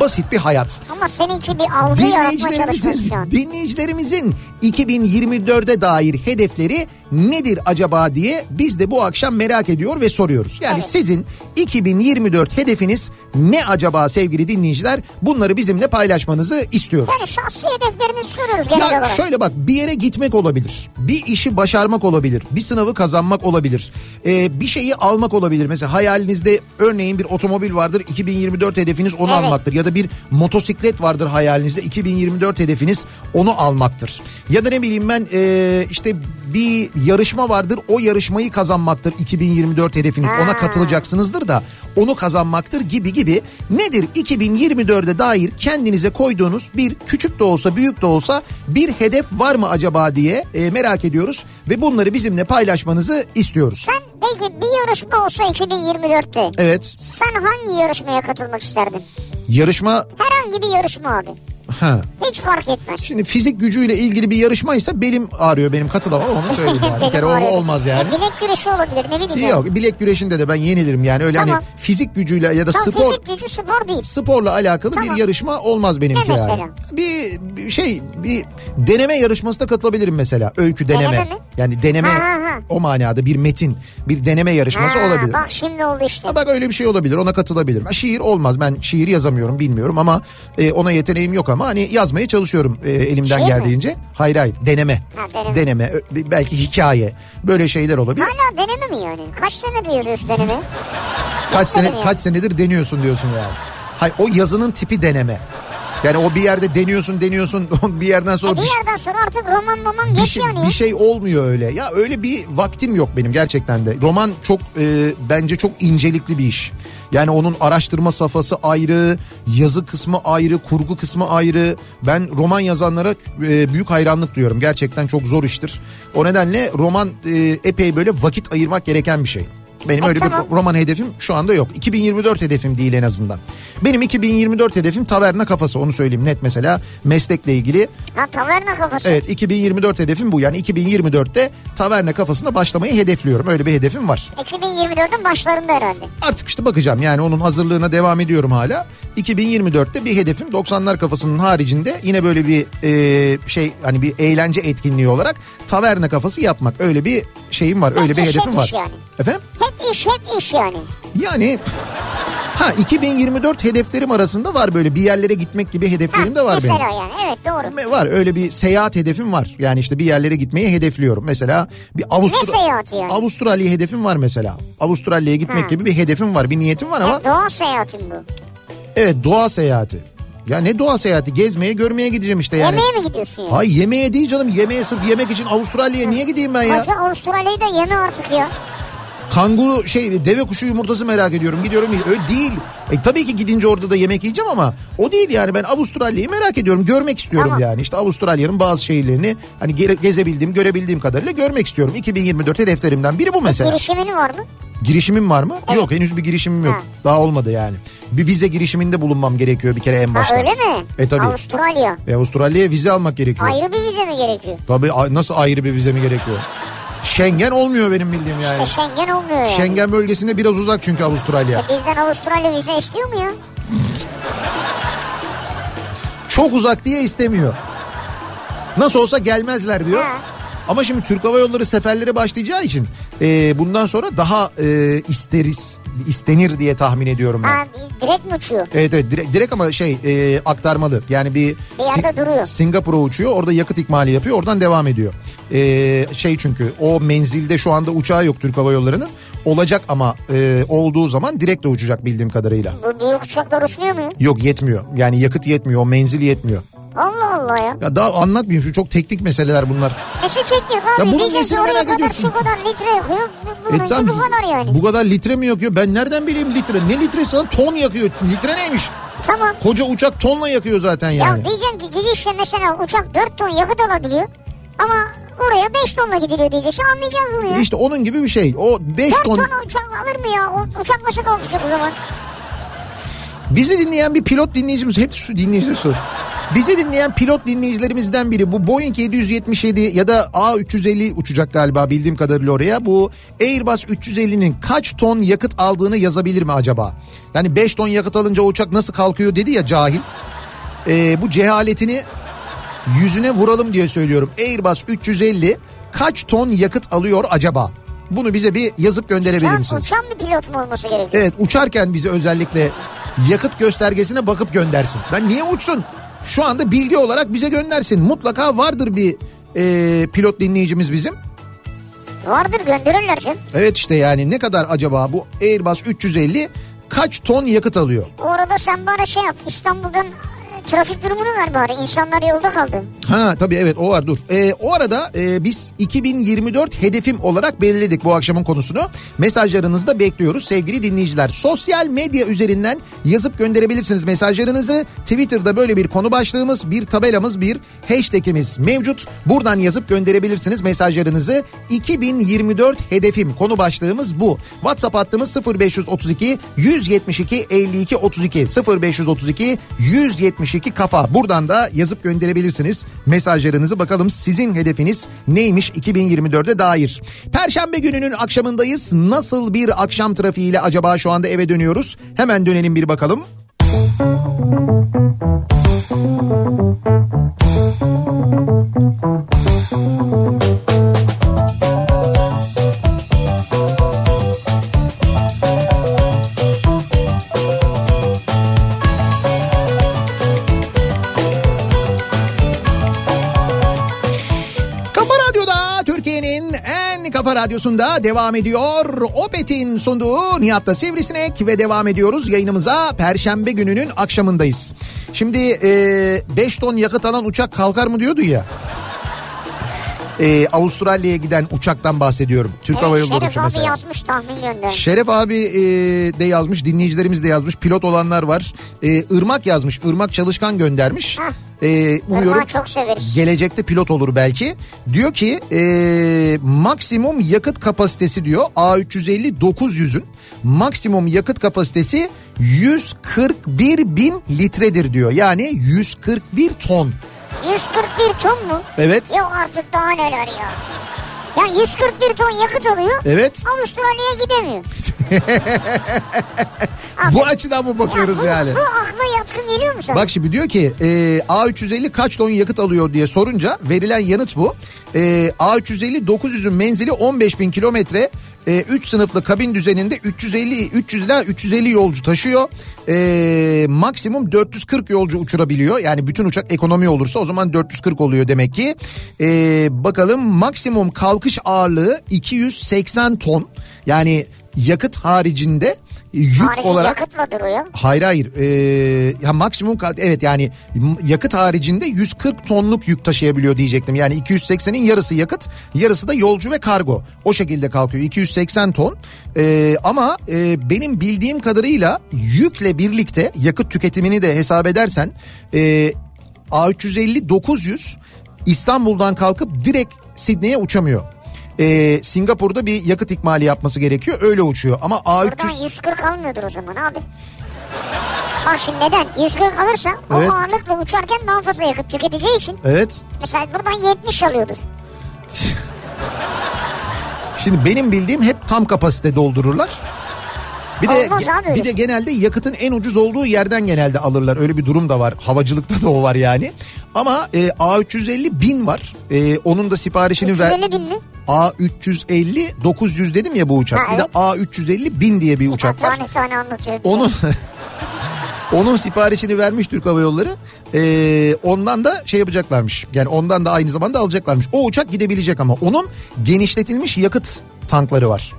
basit bir hayat. Ama seninki bir algı yaratma çalışması şu Dinleyicilerimizin, an. dinleyicilerimizin 2024'e dair hedefleri nedir acaba diye biz de bu akşam merak ediyor ve soruyoruz. Yani Evet. sizin 2024 hedefiniz ne acaba sevgili dinleyiciler? Bunları bizimle paylaşmanızı istiyoruz. Yani şahsi hedeflerini soruyoruz genel Ya olarak. şöyle bak bir yere gitmek olabilir. Bir işi başarmak olabilir. Bir sınavı kazanmak olabilir. Ee, bir şeyi almak olabilir. Mesela hayalinizde örneğin bir otomobil vardır. 2024 hedefiniz onu Evet. almaktır. Ya da bir motosiklet vardır hayalinizde. 2024 hedefiniz onu almaktır. Ya da ne bileyim ben ee, işte bir yarışma vardır. O yarışmayı kazanmaktır 2024 hedefiniz. Ona Ha. katılacaksınızdır da onu kazanmaktır gibi gibi. Nedir 2024'e dair kendinize koyduğunuz bir küçük de olsa büyük de olsa bir hedef var mı acaba diye e, merak ediyoruz ve bunları bizimle paylaşmanızı istiyoruz. Sen peki bir yarışma olsa 2024'te. Evet. Sen hangi yarışmaya katılmak isterdin? Yarışma Herhangi bir yarışma abi. ha. Hiç fark etmez. Şimdi fizik gücüyle ilgili bir yarışmaysa belim ağrıyor benim katılamam onu söyleyeyim. yani. Bir kere o Benim var olmaz öyle. yani. E, bilek güreşi olabilir ne bileyim. Yok bilek güreşinde de ben yenilirim yani öyle Tamam. hani fizik gücüyle ya da Tam spor fizik gücü spor değil. sporla alakalı Tamam. bir yarışma olmaz benimki Ne yani. mesela? Bir, bir şey bir deneme yarışmasına katılabilirim mesela. Öykü deneme. Deneme mi? Yani deneme Ha, ha, ha. o manada bir metin, bir deneme yarışması Ha, olabilir. Bak şimdi oldu işte. Ha, Bak öyle bir şey olabilir ona katılabilirim. Ha, Şiir olmaz ben şiir yazamıyorum bilmiyorum ama e, ona yeteneğim yok ama hani yazmaya çalışıyorum e, elimden Şiir Şey mi? geldiğince. Hayır hayır deneme. Ha, deneme. ö- belki hikaye böyle şeyler olabilir. Hala deneme mi yani? Kaç senedir yazıyorsun deneme? Kaç sene mi? kaç senedir deniyorsun diyorsun yani. Hayır o yazının tipi deneme. Yani o bir yerde deniyorsun deniyorsun bir yerden sonra E bir bir, yerden sonra artık roman roman bir geç şey, yani. bir şey olmuyor öyle. Ya öyle bir vaktim yok benim gerçekten de. Roman çok e, bence çok incelikli bir iş. Yani onun araştırma safhası ayrı, yazı kısmı ayrı, kurgu kısmı ayrı. Ben roman yazanlara e, büyük hayranlık duyuyorum. Gerçekten çok zor iştir. O nedenle roman e, epey böyle vakit ayırmak gereken bir şey. Benim E, öyle tamam. bir roman hedefim şu anda yok. 2024 hedefim değil en azından. Benim 2024 hedefim taverna kafası onu söyleyeyim net mesela meslekle ilgili Ha taverna kafası. Evet 2024 hedefim bu. Yani 2024'te taverna kafasında başlamayı hedefliyorum. Öyle bir hedefim var. 2024'ün başlarında herhalde. Artık işte bakacağım yani onun hazırlığına devam ediyorum hala. 2024'te bir hedefim 90'lar kafasının haricinde yine böyle bir e, şey hani bir eğlence etkinliği olarak taverna kafası yapmak. Öyle bir şeyim var öyle bir Hep hedefim var. işetmiş şey yani. Efendim? Hep iş hep iş yani. Yani ha 2024 hedeflerim arasında var böyle bir yerlere gitmek gibi hedeflerim de var benim. mesela yani evet doğru. Me- Var öyle bir seyahat hedefim var. Yani işte bir yerlere gitmeyi hedefliyorum. Mesela bir Ne Avustra seyahati yani? Avustralya hedefim var mesela. Avustralya'ya gitmek Ha. gibi bir hedefim var, bir niyetim var ama Ha, doğa seyahatim bu. evet doğa seyahati. Ya ne doğa seyahati? Gezmeye, görmeye gideceğim işte yani. Yemeğe mi gidiyorsun yani? Hay yemeğe değil canım. Yemeğe sırf yemek için Avustralya'ya niye gideyim ben ya? Hacı Avustralya'yı da yeme artık ya. Kanguru şey deve kuşu yumurtası merak ediyorum. Gidiyorum öyle değil. E, tabii ki gidince orada da yemek yiyeceğim ama o değil yani ben Avustralya'yı merak ediyorum. Görmek istiyorum Tamam. yani. İşte Avustralya'nın bazı şehirlerini hani gere- gezebildiğim, görebildiğim kadarıyla görmek istiyorum. 2024 hedeflerimden biri bu mesela. Girişimin var mı? Girişimim var mı? Yok henüz bir girişimim yok. Ha. Daha olmadı yani. Bir vize girişiminde bulunmam gerekiyor bir kere en Ha, başta. öyle mi? E tabii. Avustralya. E, Avustralya'ya vize almak gerekiyor. Ayrı bir vize mi gerekiyor? Tabii a- nasıl ayrı bir vize mi gerekiyor? Schengen olmuyor benim bildiğim yani. E Schengen olmuyor yani. Schengen bölgesinde biraz uzak çünkü Avustralya. E Bizden Avustralya vize istiyor mu ya? Çok uzak diye istemiyor. Nasıl olsa gelmezler diyor. Ha. Ama şimdi Türk Hava Yolları seferlere başlayacağı için e, bundan sonra daha e, isteriz, istenir diye tahmin ediyorum ben. Ha, direkt mi uçuyor? Evet evet direkt, direkt ama şey e, aktarmalı. Yani bir, Bir yerde Sin- duruyor. Singapur'a uçuyor. Orada yakıt ikmali yapıyor. Oradan devam ediyor. E, şey çünkü o menzilde şu anda uçağı yok Türk Hava Yolları'nın. Olacak ama e, olduğu zaman direkt de uçacak bildiğim kadarıyla. Bu büyük uçaklar uçmuyor mu? ya? Yok yetmiyor. Yani yakıt yetmiyor. O menzil yetmiyor. Allah Allah ya. Ya daha anlatmayayım şu çok teknik meseleler bunlar. Nesi teknik abi? Ya bunun Diyeceksin nesini oraya merak kadar ediyorsun? şu kadar litre yakıyor. bu- Bununki tam- bu kadar yani. E, Bu kadar litre mi yakıyor? Ben nereden bileyim litre? Ne litresi lan? Ton yakıyor. Litre neymiş? Tamam. Koca uçak tonla yakıyor zaten yani. Ya diyeceğim ki gidişle mesela uçak 4 ton yakıt alabiliyor. Ama oraya 5 tonla gidiliyor diyeceksin. Anlayacağız bunu ya. işte onun gibi bir şey. O 5 4 ton... ton uçak alır mı ya? O, uçak nasıl kalkacak o zaman? Bizi dinleyen bir pilot dinleyicimiz hep şu dinleyiciler sor. Bizi dinleyen pilot dinleyicilerimizden biri bu Boeing 777 ya da A350 uçacak galiba bildiğim kadarıyla oraya. Bu Airbus 350'nin kaç ton yakıt aldığını yazabilir mi acaba? Yani 5 ton yakıt alınca o uçak nasıl kalkıyor dedi ya cahil. Ee, bu cehaletini yüzüne vuralım diye söylüyorum. Airbus 350 kaç ton yakıt alıyor acaba? Bunu bize bir yazıp Şu gönderebilir an misiniz? uçan bir pilot mu olması gerekiyor? Evet uçarken bize özellikle yakıt göstergesine bakıp göndersin. Ben niye uçsun? Şu anda bilgi olarak bize göndersin. Mutlaka vardır bir e, pilot dinleyicimiz bizim. E- Vardır gönderirler canım. Evet işte yani ne kadar acaba bu Airbus 350 kaç ton yakıt alıyor? O arada sen bana şey yap. İstanbul'dan e, trafik durumunu ver bari. İnsanlar yolda kaldı. Ha tabii evet o var dur. Ee, o arada e, biz 2024 hedefim olarak belirledik bu akşamın konusunu. Mesajlarınızı da bekliyoruz sevgili dinleyiciler. Sosyal medya üzerinden yazıp gönderebilirsiniz mesajlarınızı. Twitter'da böyle bir konu başlığımız, bir tabelamız, bir hashtagimiz mevcut. Buradan yazıp gönderebilirsiniz mesajlarınızı. 2024 hedefim konu başlığımız bu. WhatsApp hattımız 0532 172 52 32 0532 172 kafa. Buradan da yazıp gönderebilirsiniz mesajlarınızı. Bakalım sizin hedefiniz neymiş 2024'e dair. Perşembe gününün akşamındayız. Nasıl bir akşam trafiğiyle acaba şu anda eve dönüyoruz? Hemen dönelim bir bakalım. Kafa Radyo'da Türkiye'nin en kafa Kafa Radyosu'nda devam ediyor. Opet'in sunduğu Nihat'la Sivrisinek ve devam ediyoruz yayınımıza. Perşembe gününün akşamındayız. Şimdi 5 ton yakıt alan uçak kalkar mı diyordu ya. E, Avustralya'ya giden uçaktan bahsediyorum. Türk Hava Evet, Yolları Ee, Şeref uçağı abi mesela. yazmış tahmin gönder. Şeref abi e, de yazmış, dinleyicilerimiz de yazmış, pilot olanlar var. E, Irmak yazmış, Irmak Çalışkan göndermiş. Hah. E, umuyorum Irmak'ı çok severiz. gelecekte pilot olur belki. Diyor ki e, maksimum yakıt kapasitesi diyor A350 900'ün maksimum yakıt kapasitesi 141 bin litredir diyor. Yani 141 ton. 141 ton mu? Evet. Yok artık daha neler ya. Ya 141 ton yakıt alıyor. Evet. Avustralya'ya gidemiyor. Abi, Bu ya açıdan mı bakıyoruz bu, yani? Bu akla yatkın geliyor mu sana? Bak şimdi diyor ki e, A350 kaç ton yakıt alıyor diye sorunca verilen yanıt bu. E, A350 900'ün menzili 15 bin kilometre. 3 sınıflı kabin düzeninde 350 300 ila 350 yolcu taşıyor. E, maksimum 440 yolcu uçurabiliyor. Yani bütün uçak ekonomi olursa o zaman 440 oluyor demek ki. E, bakalım maksimum kalkış ağırlığı 280 ton. Yani yakıt haricinde yük Harici olarak yakıtla duruyor. Hayır hayır. Ee, ya maksimum kal- evet yani m- yakıt haricinde 140 tonluk yük taşıyabiliyor diyecektim. Yani 280'in yarısı yakıt, yarısı da yolcu ve kargo. O şekilde kalkıyor 280 ton. Ee, ama e, benim bildiğim kadarıyla yükle birlikte yakıt tüketimini de hesap edersen e, A350 900 İstanbul'dan kalkıp direkt Sidney'e uçamıyor. Ee, Singapur'da bir yakıt ikmali yapması gerekiyor. Öyle uçuyor. Ama A300 Buradan 140 almıyordur o zaman abi. Bak şimdi neden? 140 alırsa Evet. o ağırlıkla uçarken daha fazla yakıt tüketeceği için Evet. mesela buradan 70 alıyordur. Şimdi benim bildiğim hep tam kapasite doldururlar. Bir de Olmaz abi öyle bir de şey. genelde yakıtın en ucuz olduğu yerden genelde alırlar. Öyle bir durum da var. Havacılıkta da o var yani. Ama e, A350 bin var. E, onun da siparişini ver. 350 bin mi? A350 900 dedim ya bu uçak. Ha, bir de evet. A350 bin diye bir uçak var. Tane tane anlatıyor. Onun onun siparişini vermiş Türk Hava Yolları. Ee, ondan da şey yapacaklarmış. Yani ondan da aynı zamanda alacaklarmış. O uçak gidebilecek ama onun genişletilmiş yakıt tankları var.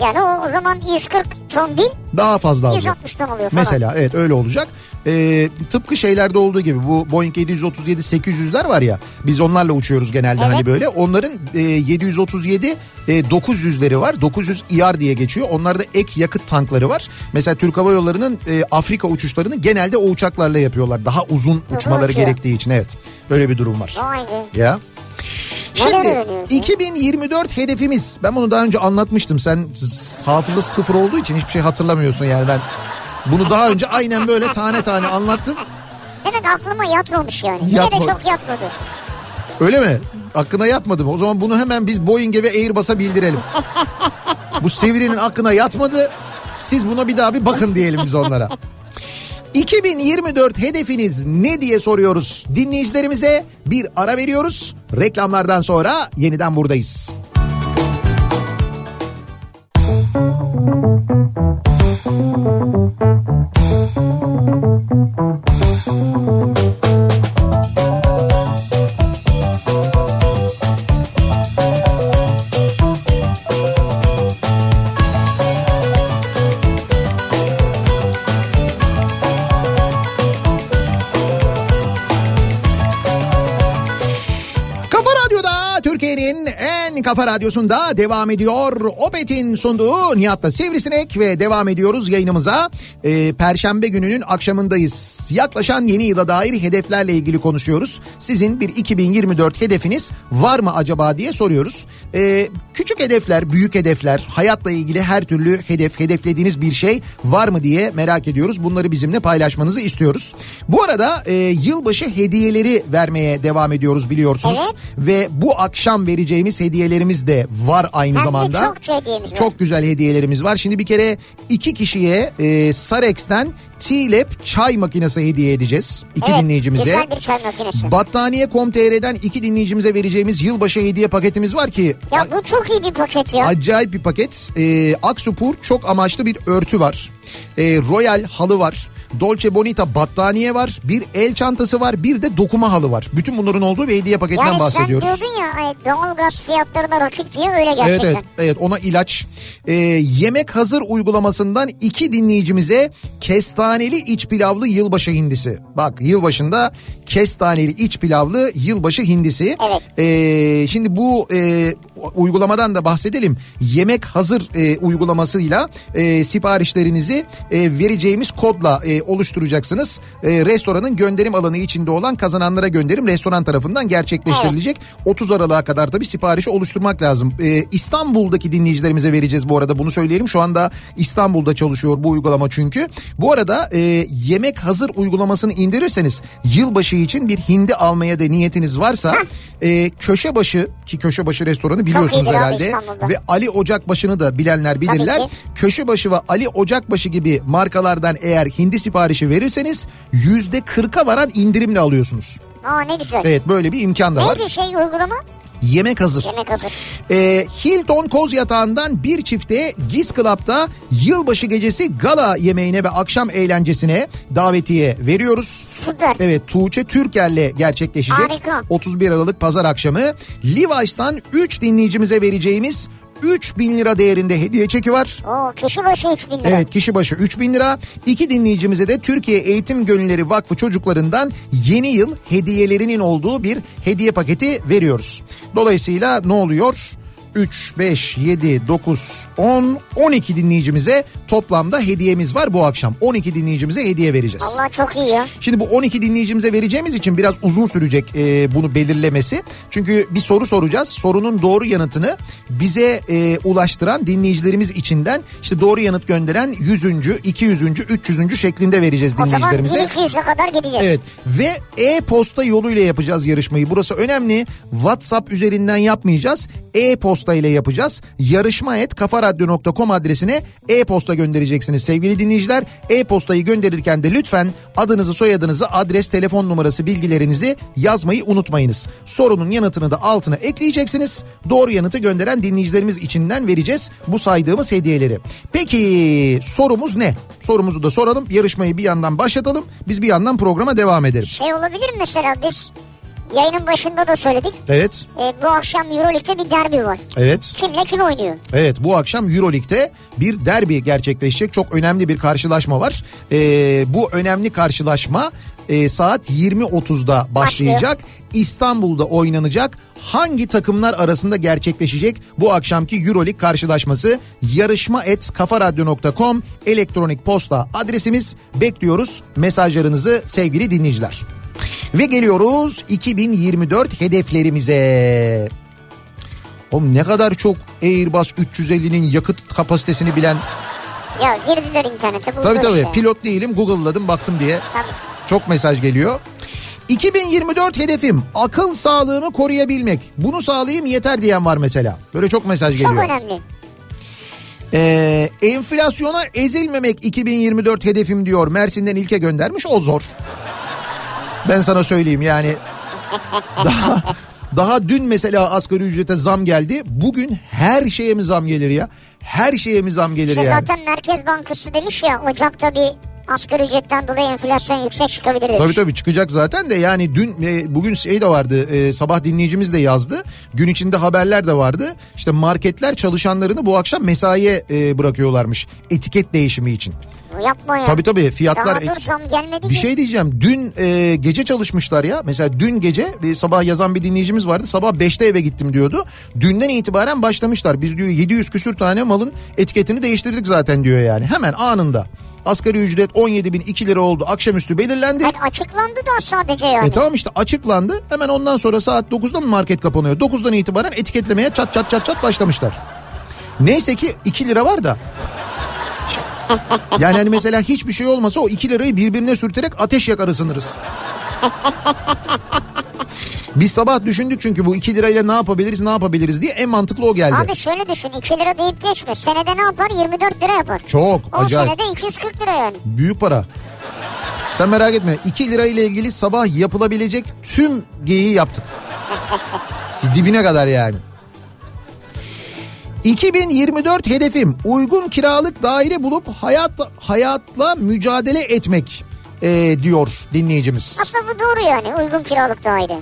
Yani o, o zaman 140 ton değil Daha fazla alacak. 160 ton oluyor falan. Mesela evet öyle olacak. Ee, tıpkı şeylerde olduğu gibi bu Boeing 737 800'ler var ya biz onlarla uçuyoruz genelde Evet. hani böyle. Onların e, 737 e, 900'leri var. 900 ER diye geçiyor. Onlarda ek yakıt tankları var. Mesela Türk Hava Yolları'nın e, Afrika uçuşlarını genelde o uçaklarla yapıyorlar. Daha uzun uçmaları uçuyor. gerektiği için evet. Böyle bir durum var. Vay be. Ya. Neler Şimdi öğreniyoruz ya? 2024 hedefimiz. Ben bunu daha önce anlatmıştım. Sen s- hafıza sıfır olduğu için hiçbir şey hatırlamıyorsun yani ben. Bunu daha önce aynen böyle tane tane anlattım. Demek aklıma yatmamış yani. Yine Yatma- de çok yatmadı. Öyle mi? Aklına yatmadı mı? O zaman bunu hemen biz Boeing'e ve Airbus'a bildirelim. Bu Sivri'nin aklına yatmadı. Siz buna bir daha bir bakın diyelim biz onlara. 2024 hedefiniz ne diye soruyoruz dinleyicilerimize. Bir ara veriyoruz. Reklamlardan sonra yeniden buradayız. Kafa Radyo'da Türkiye'nin en kafa radyosunda devam ediyor. Opet'in sunduğu Nihat'la Sivrisinek ve devam ediyoruz yayınımıza. Ee, Perşembe gününün akşamındayız. Yaklaşan yeni yıla dair hedeflerle ilgili konuşuyoruz. Sizin bir 2024 hedefiniz var mı acaba diye soruyoruz. Ee, küçük hedefler, büyük hedefler, hayatla ilgili her türlü hedef, hedeflediğiniz bir şey var mı diye merak ediyoruz. Bunları bizimle paylaşmanızı istiyoruz. Bu arada e, yılbaşı hediyeleri vermeye devam ediyoruz biliyorsunuz Evet. ve bu akşam vereceğimiz hediyelerimiz de var aynı Hem de zamanda. çokça hediyemiz var. Çok güzel hediyelerimiz var. Şimdi bir kere iki kişiye e, Sarex'ten T-Lab çay makinesi hediye edeceğiz. iki evet, dinleyicimize. Güzel bir çay makinesi. Battaniye.com.tr'den iki dinleyicimize vereceğimiz yılbaşı hediye paketimiz var ki ya bu çok iyi bir paket ya. Acayip E, bir paket. Ee, Aksupur çok amaçlı bir örtü var. Ee, E, Royal halı var. Dolce Bonita battaniye var. Bir el çantası var. Bir de dokuma halı var. Bütün bunların olduğu bir hediye paketinden Yani sen bahsediyoruz. diyordun ya ay, doğalgaz fiyatlarına rakip diye öyle Evet gerçekten. evet, evet ona ilaç. Ee, yemek hazır uygulamasından iki dinleyicimize kestaneli iç pilavlı yılbaşı hindisi. Bak yılbaşında kestaneli iç pilavlı yılbaşı hindisi. Evet. Ee, şimdi bu e, uygulamadan da bahsedelim. Yemek hazır e, uygulamasıyla e, siparişlerinizi e, vereceğimiz kodla e, oluşturacaksınız. E, restoranın gönderim alanı içinde olan kazananlara gönderim restoran tarafından gerçekleştirilecek. 30 Aralık'a kadar tabii siparişi oluşturmak lazım. E, İstanbul'daki dinleyicilerimize vereceğiz bu arada bunu söyleyelim. Şu anda İstanbul'da çalışıyor bu uygulama çünkü. Bu arada e, yemek hazır uygulamasını indirirseniz yılbaşı için bir hindi almaya da niyetiniz varsa e, köşebaşı ki köşebaşı restoranı biliyorsunuz iyidir abi herhalde İstanbul'da. ve Ali Ocakbaşı'nı da bilenler bilirler. Tabii ki. Köşebaşı ve Ali Ocakbaşı gibi markalardan eğer hindi siparişi verirseniz yüzde kırka varan indirimle alıyorsunuz. Aa ne güzel. Evet böyle bir imkan da var. Neydi şey uygulama? Yemek hazır. Yemek hazır. Ee, Hilton Koz Yatağı'ndan bir çifte Giz Club'da yılbaşı gecesi gala yemeğine ve akşam eğlencesine davetiye veriyoruz. Süper. Evet Tuğçe Türker'le gerçekleşecek. Harika. 31 Aralık pazar akşamı Levi's'tan 3 dinleyicimize vereceğimiz 3000 lira değerinde hediye çeki var. Oo kişi başı 3000 lira. Evet kişi başı 3000 lira. İki dinleyicimize de Türkiye Eğitim Gönülleri Vakfı çocuklarından yeni yıl hediyelerinin olduğu bir hediye paketi veriyoruz. Dolayısıyla ne oluyor? 3, 5, 7, 9, 10, 12 dinleyicimize toplamda hediyemiz var bu akşam. 12 dinleyicimize hediye vereceğiz. Allah çok iyi ya. Şimdi bu 12 dinleyicimize vereceğimiz için biraz uzun sürecek e, bunu belirlemesi. Çünkü bir soru soracağız. Sorunun doğru yanıtını bize e, ulaştıran dinleyicilerimiz içinden işte doğru yanıt gönderen 100. 200. 300. şeklinde vereceğiz O zaman dinleyicilerimize. 1200'e kadar gideceğiz. Evet ve e-posta yoluyla yapacağız yarışmayı. Burası önemli. WhatsApp üzerinden yapmayacağız. E-posta ile yapacağız. Yarışma et kafaradyo.com adresine e-posta göndereceksiniz sevgili dinleyiciler. E-postayı gönderirken de lütfen adınızı, soyadınızı, adres, telefon numarası bilgilerinizi yazmayı unutmayınız. Sorunun yanıtını da altına ekleyeceksiniz. Doğru yanıtı gönderen dinleyicilerimiz içinden vereceğiz bu saydığımız hediyeleri. Peki sorumuz ne? Sorumuzu da soralım. Yarışmayı bir yandan başlatalım. Biz bir yandan programa devam edelim. Şey olabilir mi mesela biz yayının başında da söyledik. Evet, E, bu akşam Euroleague'de bir derbi var. evet. Kimle kim oynuyor? Evet bu akşam Euroleague'de bir derbi gerçekleşecek. Çok önemli bir karşılaşma var. Ee, bu önemli karşılaşma e, saat 20.30'da başlayacak. İstanbul'da oynanacak. Hangi takımlar arasında gerçekleşecek bu akşamki Euroleague karşılaşması? Yarışma et kafaradyo.com elektronik posta adresimiz. Bekliyoruz mesajlarınızı sevgili dinleyiciler. Ve geliyoruz 2024 hedeflerimize. Oğlum ne kadar çok Airbus 350'nin yakıt kapasitesini bilen. Ya girdiler internete buldu Tabii tabii işte. pilot değilim Google'ladım baktım diye. Tabii. Çok mesaj geliyor. 2024 hedefim akıl sağlığımı koruyabilmek. Bunu sağlayayım yeter diyen var mesela. Böyle çok mesaj Çok geliyor. önemli. Ee, enflasyona ezilmemek 2024 hedefim diyor. Mersin'den ilke göndermiş o zor. Ben sana söyleyeyim yani. Daha, daha dün mesela asgari ücrete zam geldi. Bugün her şeye mi zam gelir ya? Her şeye mi zam gelir İşte yani? Şey zaten Merkez Bankası demiş ya Ocak'ta bir asgari ücretten dolayı enflasyon yüksek çıkabilir demiş. Tabii tabii çıkacak zaten de yani dün e, bugün şey de vardı e, sabah dinleyicimiz de yazdı. Gün içinde haberler de vardı. İşte marketler çalışanlarını bu akşam mesaiye e, bırakıyorlarmış etiket değişimi için. Yapma ya. Tabii tabii fiyatlar Daha dur et- zam gelmedi Bir ki. şey diyeceğim. Dün e, gece çalışmışlar ya. Mesela dün gece bir sabah yazan bir dinleyicimiz vardı. Sabah 5'te eve gittim diyordu. Dünden itibaren başlamışlar. Biz diyor 700 küsür tane malın etiketini değiştirdik zaten diyor yani. Hemen anında. Asgari ücret 17.002 lira oldu. Akşamüstü belirlendi. Hayır, açıklandı da sadece yani. E tamam işte açıklandı. Hemen ondan sonra saat 9'da mı market kapanıyor? 9'dan itibaren etiketlemeye çat çat çat çat başlamışlar. Neyse ki 2 lira var da. Yani hani mesela hiçbir şey olmasa o 2 lirayı birbirine sürterek ateş yakar ısınırız. Biz sabah düşündük çünkü bu 2 lirayla ne yapabiliriz ne yapabiliriz diye en mantıklı o geldi. Abi şöyle düşün 2 lira deyip geçme. Senede ne yapar? 24 lira yapar. Çok 10 acayip. senede 240 lira yani. Büyük para. Sen merak etme 2 lirayla ilgili sabah yapılabilecek tüm geyiği yaptık. Dibine kadar yani. 2024 hedefim uygun kiralık daire bulup hayat hayatla mücadele etmek. e, diyor dinleyicimiz. Aslında bu doğru yani uygun kiralık daire.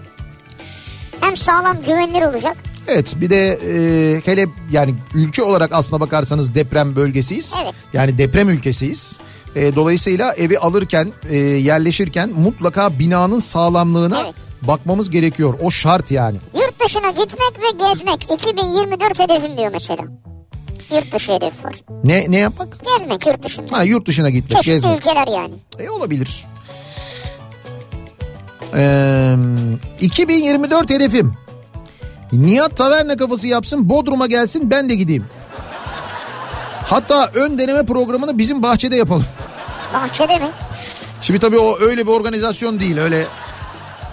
Hem sağlam güvenilir olacak. Evet bir de e, hele yani ülke olarak aslına bakarsanız deprem bölgesiyiz. Evet. Yani deprem ülkesiyiz. E, dolayısıyla evi alırken e, yerleşirken mutlaka binanın sağlamlığına Evet. bakmamız gerekiyor. O şart yani. Yurt dışına gitmek ve gezmek 2024 hedefim diyor mesela. Yurt dışı hedef var. Ne ne yapmak? Gezmek yurt dışında. Ha yurt dışına gitmek, Çeşitli gezmek. ülkeler yani. E olabilir. Ee, 2024 hedefim. Nihat taverna kafası yapsın Bodrum'a gelsin ben de gideyim. Hatta ön deneme programını bizim bahçede yapalım. Bahçede mi? Şimdi tabii o öyle bir organizasyon değil. Öyle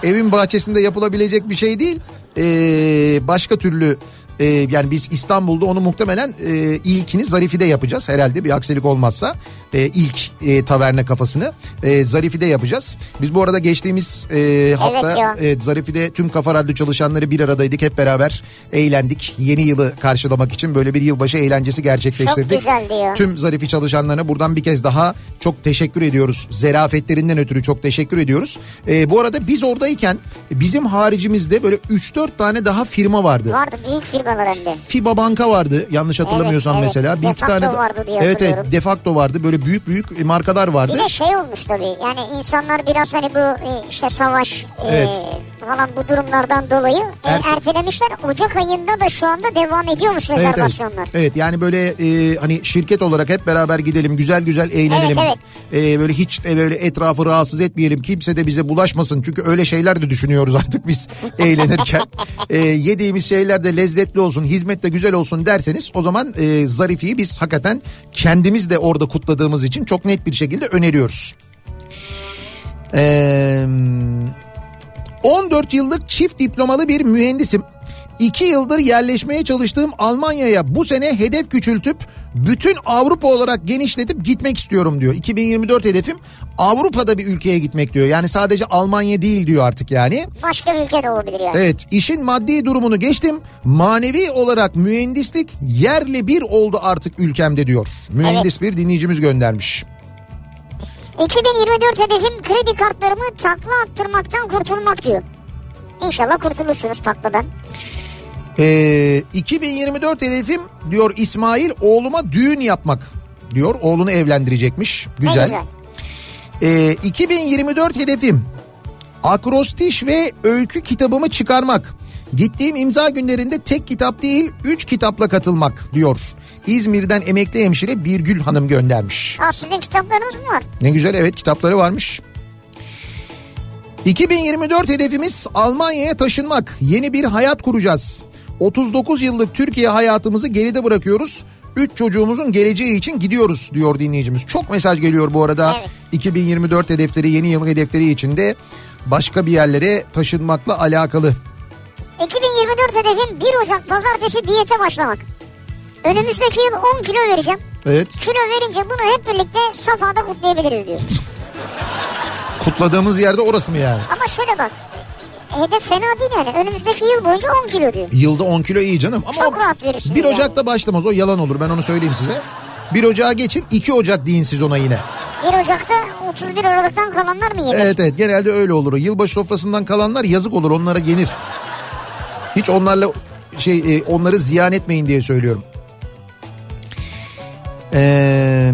evin bahçesinde yapılabilecek bir şey değil. Ee, başka türlü e, yani biz İstanbul'da onu muhtemelen e, ilkini Zarifi'de yapacağız herhalde bir aksilik olmazsa e, ilk e, taverna kafasını e, Zarifi'de yapacağız. Biz bu arada geçtiğimiz e, hafta Evet ya. Evet Zarifi'de tüm Kafa Radyo çalışanları bir aradaydık. Hep beraber eğlendik. Yeni yılı karşılamak için böyle bir yılbaşı eğlencesi gerçekleştirdik. Çok güzeldi ya. Tüm Zarifi çalışanlarına buradan bir kez daha çok teşekkür ediyoruz. Zerafetlerinden ötürü çok teşekkür ediyoruz. Ee, bu arada biz oradayken bizim haricimizde böyle 3-4 tane daha firma vardı. Vardı büyük firmalar hem de. FIBA Banka vardı yanlış hatırlamıyorsam evet. mesela. Bir iki Defacto tane de- vardı diye Evet evet hatırlıyorum. defacto vardı. Böyle büyük büyük markalar vardı. Bir de şey olmuş tabii yani insanlar biraz hani bu e, işte savaş e, Evet. falan bu durumlardan dolayı e, Erte- ertelemişler. Ocak ayında da şu anda devam ediyormuş Evet, evet. rezervasyonlar. Evet, yani böyle e, hani şirket olarak hep beraber gidelim güzel güzel eğlenelim. Evet, E, böyle hiç de böyle etrafı rahatsız etmeyelim kimse de bize bulaşmasın. Çünkü öyle şeyler de düşünüyoruz artık biz eğlenirken. E, yediğimiz şeyler de lezzetli olsun hizmet de güzel olsun derseniz o zaman e, Zarifi'yi biz hakikaten kendimiz de orada kutladığımız için çok net bir şekilde öneriyoruz. Eee... 14 yıllık çift diplomalı bir mühendisim. 2 yıldır yerleşmeye çalıştığım Almanya'ya bu sene hedef küçültüp bütün Avrupa olarak genişletip gitmek istiyorum diyor. 2024 hedefim Avrupa'da bir ülkeye gitmek diyor. Yani sadece Almanya değil diyor artık yani. Başka bir ülke de olabilir yani. Evet işin maddi durumunu geçtim. Manevi olarak mühendislik yerle bir oldu artık ülkemde diyor. Mühendis bir dinleyicimiz göndermiş. 2024 hedefim kredi kartlarımı takla attırmaktan kurtulmak diyor. İnşallah kurtulursunuz takladan. Ee, 2024 hedefim diyor İsmail oğluma düğün yapmak diyor. Oğlunu evlendirecekmiş. Güzel. Ne güzel. Ee, 2024 hedefim akrostiş ve öykü kitabımı çıkarmak. Gittiğim imza günlerinde tek kitap değil 3 kitapla katılmak diyor. İzmir'den emekli hemşire Birgül Hanım göndermiş. Aa, sizin kitaplarınız mı var? Ne güzel evet kitapları varmış. 2024 hedefimiz Almanya'ya taşınmak. Yeni bir hayat kuracağız. 39 yıllık Türkiye hayatımızı geride bırakıyoruz. 3 çocuğumuzun geleceği için gidiyoruz diyor dinleyicimiz. Çok mesaj geliyor bu arada. Evet. 2024 hedefleri, yeni yıl hedefleri içinde başka bir yerlere taşınmakla alakalı. 2024 hedefim 1 Ocak pazartesi diyete başlamak. Önümüzdeki yıl 10 kilo vereceğim. Evet. Kilo verince bunu hep birlikte safhada kutlayabiliriz diyor. Kutladığımız yerde orası mı yani? Ama şöyle bak. Hedef fena değil yani. Önümüzdeki yıl boyunca 10 kilo diyor. Yılda 10 kilo iyi canım ama Çok o rahat verirsiniz 1 yani. Ocak'ta başlamaz o yalan olur ben onu söyleyeyim size. 1 Ocak'a geçin 2 Ocak deyin siz ona yine. 1 Ocak'ta 31 Aralık'tan kalanlar mı yenir? Evet evet genelde öyle olur. o. Yılbaşı sofrasından kalanlar yazık olur onlara yenir. Hiç onlarla şey e, onları ziyan etmeyin diye söylüyorum. Ee,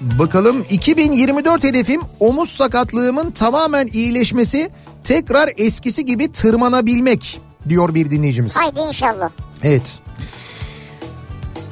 bakalım 2024 hedefim omuz sakatlığımın tamamen iyileşmesi tekrar eskisi gibi tırmanabilmek diyor bir dinleyicimiz. Haydi inşallah. Evet.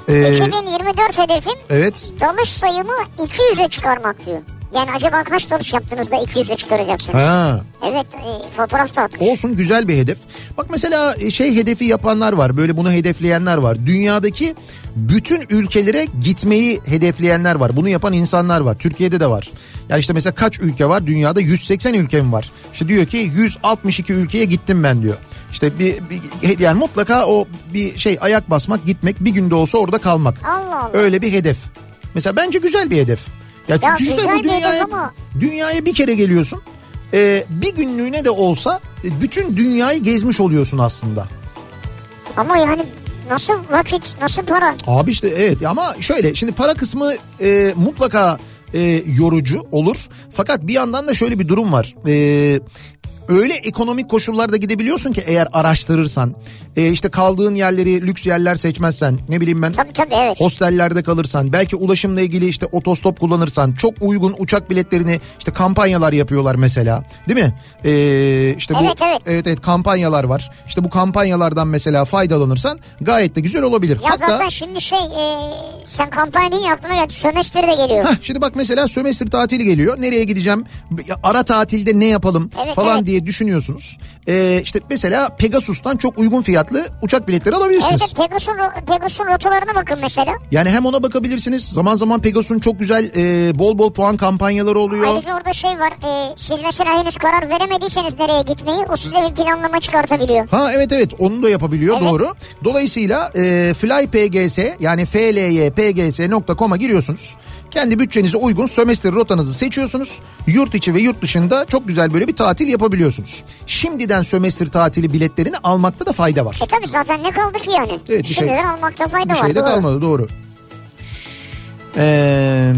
Ee, 2024 hedefim evet. dalış sayımı 200'e çıkarmak diyor. Yani acaba kaç dalış yaptınız da 200'e çıkaracaksınız? Ha. Evet e, fotoğraf da atmış. Olsun güzel bir hedef. Bak mesela şey hedefi yapanlar var. Böyle bunu hedefleyenler var. Dünyadaki bütün ülkelere gitmeyi hedefleyenler var. Bunu yapan insanlar var. Türkiye'de de var. Ya işte mesela kaç ülke var? Dünyada 180 ülke mi var? İşte diyor ki 162 ülkeye gittim ben diyor. İşte bir, bir yani mutlaka o bir şey ayak basmak, gitmek, bir günde olsa orada kalmak. Allah Allah. Öyle bir hedef. Mesela bence güzel bir hedef. Ya, Ya çünkü işte güzel bu bir hedef dünyaya, ama- dünyaya bir kere geliyorsun. Ee, bir e, günlüğüne de olsa e, bütün dünyayı gezmiş oluyorsun aslında. Ama yani Nasıl vakit, nasıl para? Abi işte evet ama şöyle şimdi para kısmı e, mutlaka e, yorucu olur. Fakat bir yandan da şöyle bir durum var. E, öyle ekonomik koşullarda gidebiliyorsun ki eğer araştırırsan. E, işte kaldığın yerleri lüks yerler seçmezsen ne bileyim ben. Tabii tabii evet. Hostellerde kalırsan belki ulaşımla ilgili işte otostop kullanırsan çok uygun uçak biletlerini işte kampanyalar yapıyorlar mesela değil mi? Ee, işte bu, Evet, evet. evet kampanyalar var. İşte bu kampanyalardan mesela faydalanırsan gayet de güzel olabilir. Ya Hatta zaten şimdi şey e, sen kampanya deyince aklıma geldi. Sömestri de geliyor. Heh, şimdi bak mesela sömestr tatili geliyor. Nereye gideceğim? Ya Ara tatilde ne yapalım Evet, falan evet. diye düşünüyorsunuz. Ee, işte mesela Pegasus'tan çok uygun fiyatlı uçak biletleri alabilirsiniz. Evet Pegasus'un, ro- Pegasus'un rotalarına bakın mesela. Yani hem ona bakabilirsiniz. Zaman zaman Pegasus'un çok güzel e, bol bol puan kampanyaları oluyor. Ayrıca orada şey var. E, siz mesela henüz karar veremediyseniz nereye gitmeyi o size bir planlama çıkartabiliyor. Ha evet evet onu da yapabiliyor Evet. doğru. Dolayısıyla e, flypgs yani flypgs.com'a giriyorsunuz. Kendi bütçenize uygun sömestr rotanızı seçiyorsunuz. Yurt içi ve yurt dışında çok güzel böyle bir tatil yapabiliyorsunuz. Şimdiden sömestr tatili biletlerini almakta da fayda var. E tabii zaten ne kaldı ki yani? Evet, bir şey- Şimdiden almakta fayda Bir var. şey de doğru. kalmadı doğru. Ee,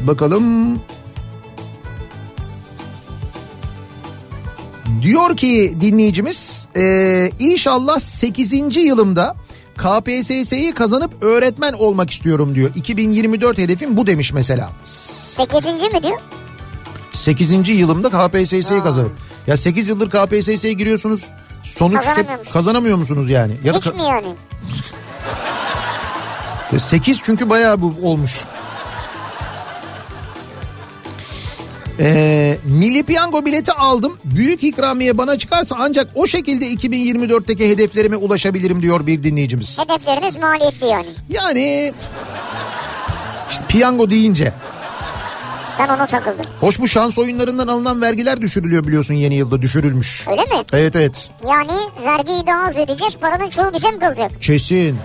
bakalım. Diyor ki dinleyicimiz ee, inşallah 8. yılımda KPSS'yi kazanıp öğretmen olmak istiyorum diyor. 2024 hedefim bu demiş mesela. Sekizinci mi diyor? 8. yılımda KPSS'yi kazanıp. Ya 8 yıldır KPSS'ye giriyorsunuz. Sonuçta Kazanamıyormuş. kazanamıyor musunuz yani? Ya da Hiç ka- mi yani? 8 E, çünkü bayağı bu olmuş. Ee, milli piyango bileti aldım. Büyük ikramiye bana çıkarsa ancak o şekilde 2024'teki hedeflerime ulaşabilirim diyor bir dinleyicimiz. Hedefleriniz maliyetli yani. Yani işte piyango deyince. Sen ona takıldın. Hoş bu şans oyunlarından alınan vergiler düşürülüyor biliyorsun yeni yılda düşürülmüş. Öyle mi? Evet evet Yani vergiyi daha az ödeyeceğiz. Paranın çoğu bize mi kalacak? kesin.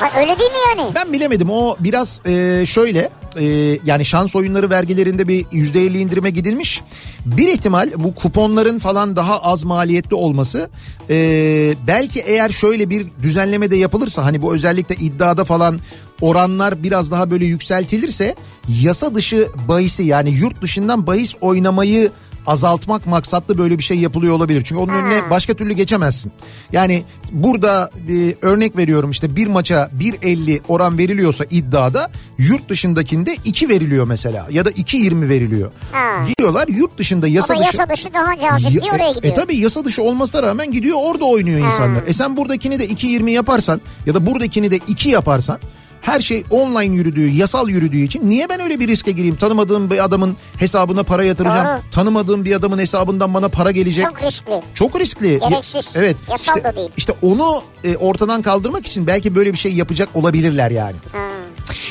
Ha, öyle değil mi yani? Ben bilemedim o biraz e, şöyle e, yani şans oyunları vergilerinde bir %50 indirime gidilmiş. Bir ihtimal bu kuponların falan daha az maliyetli olması e, belki eğer şöyle bir düzenleme de yapılırsa hani bu özellikle iddiada falan oranlar biraz daha böyle yükseltilirse yasa dışı bahisi yani yurt dışından bahis oynamayı azaltmak maksatlı böyle bir şey yapılıyor olabilir. Çünkü onun Hmm. önüne başka türlü geçemezsin. Yani burada e, örnek veriyorum işte bir maça 1.50 oran veriliyorsa iddiada yurt dışındakinde 2 veriliyor mesela ya da 2.20 veriliyor. Ha. Gidiyorlar yurt dışında yasa Ama dışı... yasa dışı daha cazip diye Ya- oraya e, gidiyor. E tabii yasa dışı olmasına rağmen gidiyor orada oynuyor insanlar. E sen buradakini de 2.20 yaparsan ya da buradakini de 2 yaparsan her şey online yürüdüğü, yasal yürüdüğü için niye ben öyle bir riske gireyim? Tanımadığım bir adamın hesabına para yatıracağım. Doğru. Tanımadığım bir adamın hesabından bana para gelecek. Çok riskli. Çok riskli. Gereksiz. Ya- Evet. Yasal işte, da değil. işte onu e, ortadan kaldırmak için belki böyle bir şey yapacak olabilirler yani. Ha.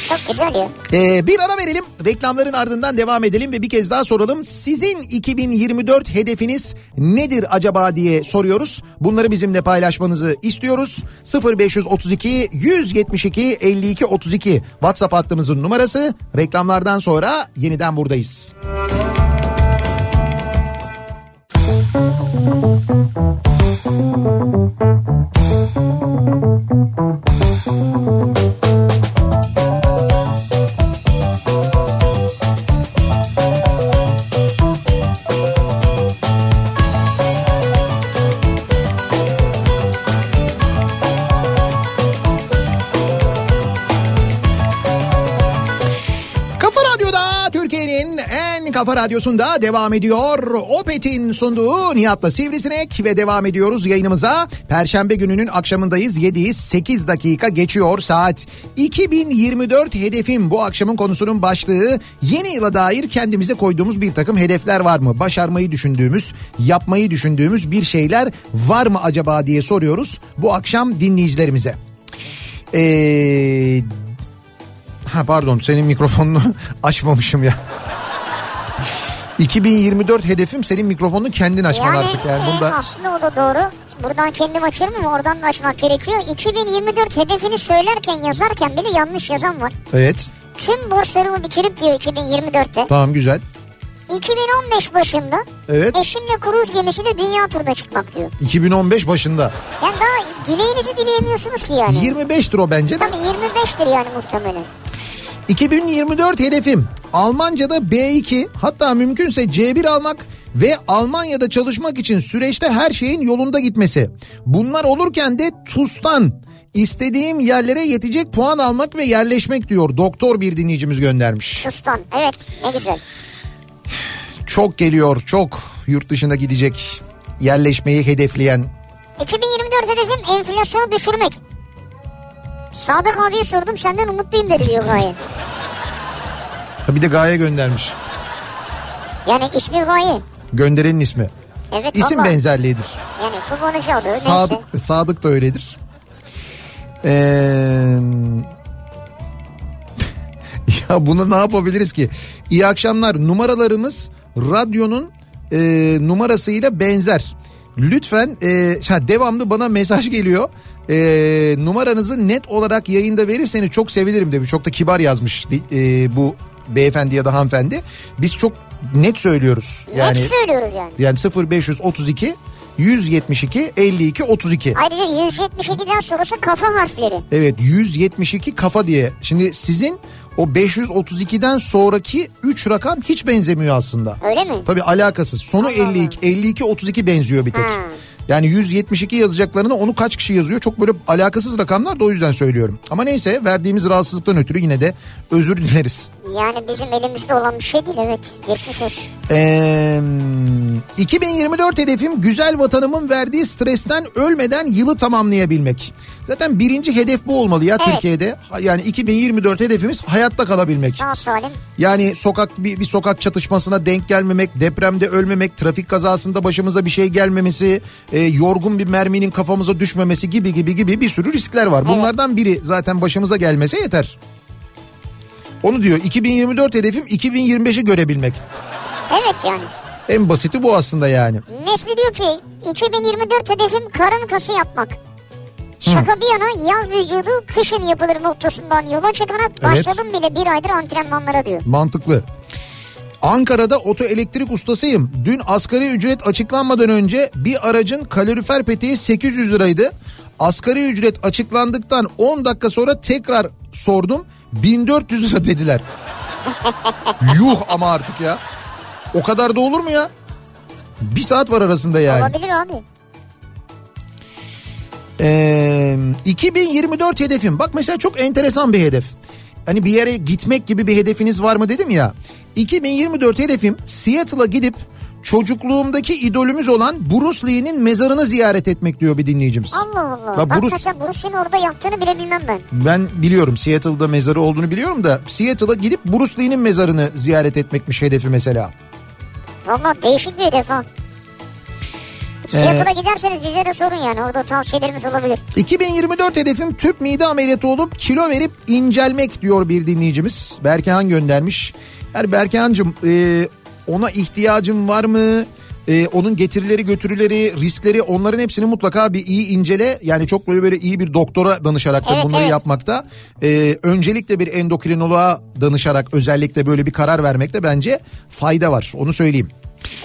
Çok güzel ya. Ee, bir ara verelim. Reklamların ardından devam edelim ve bir kez daha soralım. Sizin 2024 hedefiniz nedir acaba diye soruyoruz. Bunları bizimle paylaşmanızı istiyoruz. 0532 172 52 32 WhatsApp hattımızın numarası. Reklamlardan sonra yeniden buradayız. Kafa Radyo'da Türkiye'nin en kafa radyosunda devam ediyor. Opet'in sunduğu Nihat'la Sivrisinek ve devam ediyoruz yayınımıza. Perşembe gününün akşamındayız. 7'yi 8 dakika geçiyor saat. 2024 hedefim bu akşamın konusunun başlığı. Yeni yıla dair kendimize koyduğumuz bir takım hedefler var mı? Başarmayı düşündüğümüz, yapmayı düşündüğümüz bir şeyler var mı acaba diye soruyoruz bu akşam dinleyicilerimize. Eee Ee, Ha pardon senin mikrofonunu açmamışım ya. 2024 hedefim senin mikrofonunu kendin açman Yani, artık yani e, bunda. aslında o da doğru. Buradan kendim açıyorum ama oradan da açmak gerekiyor. 2024 hedefini söylerken yazarken bile yanlış yazan var. Evet Tüm borçlarımı bitirip diyor 2024'te. tamam güzel. 2015 başında Evet. eşimle kruz gemisiyle dünya turuna çıkmak diyor. 2015 başında. Yani daha dileğinizi dileyemiyorsunuz ki yani. 25 lira bence de. Tabii 25'tir yani muhtemelen. 2024 hedefim Almanca'da B2 hatta mümkünse C1 almak ve Almanya'da çalışmak için süreçte her şeyin yolunda gitmesi. Bunlar olurken de TUS'tan istediğim yerlere yetecek puan almak ve yerleşmek diyor doktor bir dinleyicimiz göndermiş. Sustan. Evet ne güzel. Çok geliyor çok yurt dışına gidecek yerleşmeyi hedefleyen 2024 hedefim enflasyonu düşürmek. Sadık abiye sordum senden umutluyum dedi diyor Gaye. bir de Gaye göndermiş Yani ismi Gaye. gönderenin ismi. Evet İsim valla. benzerliğidir. Yani kullanıcı adı neyse. Sadık, Sadık da öyledir. Ee, ya bunu ne yapabiliriz ki? İyi akşamlar. Numaralarımız radyonun e, numarasıyla benzer. Lütfen e, ha, devamlı bana mesaj geliyor. E, numaranızı net olarak yayında verirseniz çok sevinirim demiş. Çok da kibar yazmış e, bu beyefendi ya da hanımefendi. Biz çok net söylüyoruz. Net söylüyoruz yani. Yani 0532 172 52 32. Ayrıca 172'den sonrası kafa harfleri. Evet 172 kafa diye. Şimdi sizin o 532'den sonraki 3 rakam hiç benzemiyor aslında. Öyle mi? Tabii alakasız. Sonu 52 52 32 benziyor bir tek. Ha. Yani 172 yazacaklarını onu kaç kişi yazıyor? Çok böyle alakasız rakamlar da o yüzden söylüyorum. Ama neyse verdiğimiz rahatsızlıktan ötürü yine de özür dileriz. Yani bizim elimizde olan bir şey değil evet. Geçmiş olsun. Ee, 2024 hedefim güzel vatanımın verdiği stresten ölmeden yılı tamamlayabilmek. Zaten birinci hedef bu olmalı ya Evet. Türkiye'de. Ha- Yani 2024 hedefimiz hayatta kalabilmek. Sağ salim. Yani sokak bir, bir sokak çatışmasına denk gelmemek, depremde ölmemek, trafik kazasında başımıza bir şey gelmemesi, e, yorgun bir merminin kafamıza düşmemesi gibi gibi gibi bir sürü riskler var. Bunlardan biri zaten başımıza gelmese yeter. Onu diyor 2024 hedefim 2025'i görebilmek. Evet yani. En basiti bu aslında yani. Nesli diyor ki 2024 hedefim karın kası yapmak. Şaka bir yana yaz vücudu kışın yapılır noktasından yola çıkarak başladım bile bir aydır antrenmanlara diyor. Mantıklı. Ankara'da oto elektrik ustasıyım. Dün asgari ücret açıklanmadan önce bir aracın kalorifer peteği 800 liraydı. Asgari ücret açıklandıktan 10 dakika sonra tekrar sordum. 1400 lira dediler. Yuh ama artık ya. O kadar da olur mu ya? Bir saat var arasında yani. Olabilir abi. Ee, 2024 hedefim. Bak mesela çok enteresan bir hedef. Hani bir yere gitmek gibi bir hedefiniz var mı dedim ya. 2024 hedefim Seattle'a gidip çocukluğumdaki idolümüz olan Bruce Lee'nin mezarını ziyaret etmek diyor bir dinleyicimiz. Allah Allah. Ya Bak Bruce- mesela Bruce'in orada yaptığını bile bilmem ben. Ben biliyorum Seattle'da mezarı olduğunu biliyorum da Seattle'a gidip Bruce Lee'nin mezarını ziyaret etmekmiş hedefi mesela. Valla değişik bir hedef ha. Seattle'a Ee, giderseniz bize de sorun yani orada tavsiyelerimiz olabilir. 2024 hedefim tüp mide ameliyatı olup kilo verip incelmek diyor bir dinleyicimiz. Berkehan göndermiş. Yani Berkehan'cığım e, ona ihtiyacın var mı? E, onun getirileri götürüleri riskleri onların hepsini mutlaka bir iyi incele. Yani çok böyle böyle iyi bir doktora danışarak da Evet, bunları evet. yapmakta. E, öncelikle bir endokrinoloğa danışarak özellikle böyle bir karar vermekte bence fayda var. Onu söyleyeyim.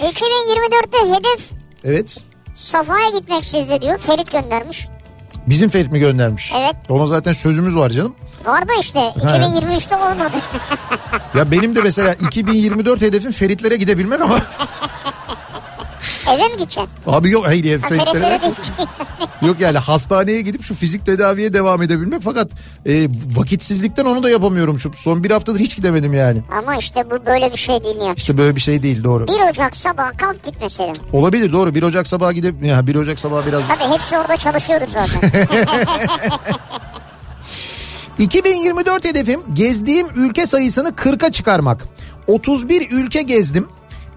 2024'te hedef Evet. safhaya gitmek sizde diyor. Ferit göndermiş. Bizim Ferit mi göndermiş? Evet. Ona zaten sözümüz var canım. Var da işte 2023'te olmadı. Ya benim de mesela 2024 hedefim Feritlere gidebilmek ama Eve mi gideceksin? abi yok hayır ya, Ha, Feritlere Feritlere değil. yok yani hastaneye gidip şu fizik tedaviye devam edebilmek fakat e, vakitsizlikten onu da yapamıyorum şu son bir haftadır hiç gidemedim yani. Ama işte bu böyle bir şey değil ya. İşte böyle bir şey değil doğru. 1 Ocak sabah kalk git mesela. Olabilir doğru 1 Ocak sabahı gidip ya 1 Ocak sabahı biraz Tabii hepsi orada çalışıyordur zaten. 2024 hedefim gezdiğim ülke sayısını 40'a çıkarmak. 31 ülke gezdim.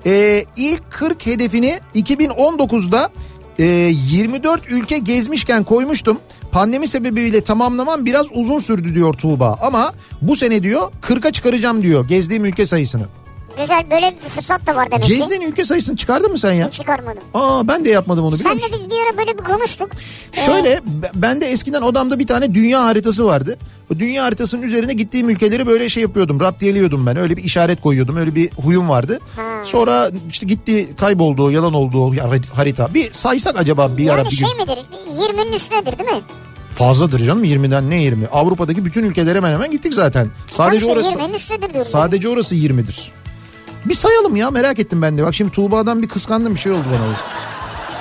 Ee, ilk 40 hedefini 2019'da e, 24 ülke gezmişken koymuştum. Pandemi sebebiyle tamamlamam biraz uzun sürdü diyor Tuğba. Ama bu sene diyor 40'a çıkaracağım diyor gezdiğim ülke sayısını. Güzel böyle bir fırsat da var demek ki. Gezdiğin ülke sayısını çıkardın mı sen ya? Çıkarmadım. Aa ben de yapmadım onu biliyor Senle musun? biz bir ara böyle bir konuştuk. Ee, Şöyle b- ben de eskiden odamda bir tane dünya haritası vardı. Bu dünya haritasının üzerine gittiğim ülkeleri böyle şey yapıyordum. Raptiyeliyordum ben. Öyle bir işaret koyuyordum. Öyle bir huyum vardı. Hmm. Sonra işte gitti kayboldu, yalan oldu harita. Bir saysak acaba bir ara Yani bir şey gün. midir? 20'nin üstündedir değil mi? Fazladır canım 20'den ne 20? Avrupa'daki bütün ülkelere hemen hemen gittik zaten. Sadece Tabii ki orası 20'nin üstündedir diyorum. sadece orası 20'dir. Bir sayalım ya merak ettim ben de. Bak şimdi Tuğba'dan bir kıskandım bir şey oldu bana.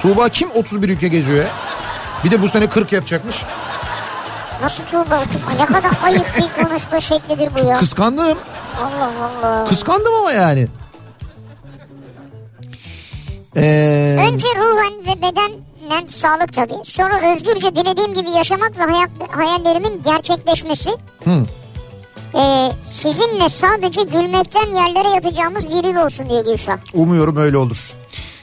Tuğba kim 31 ülke geziyor ya? Bir de bu sene 40 yapacakmış. ben. Nasıl Tuğba? Ne kadar ayıp bir konuşma şeklidir bu ya. Kıskandım. Allah Allah. Kıskandım ama yani. Ee, Önce ruhen ve bedenen sağlık tabii. Sonra özgürce dilediğim gibi yaşamak ve hayat- hayallerimin gerçekleşmesi. Hı. Ee, sizinle sadece gülmekten yerlere yatacağımız bir yıl olsun diyor Gülşah. Umuyorum öyle olur.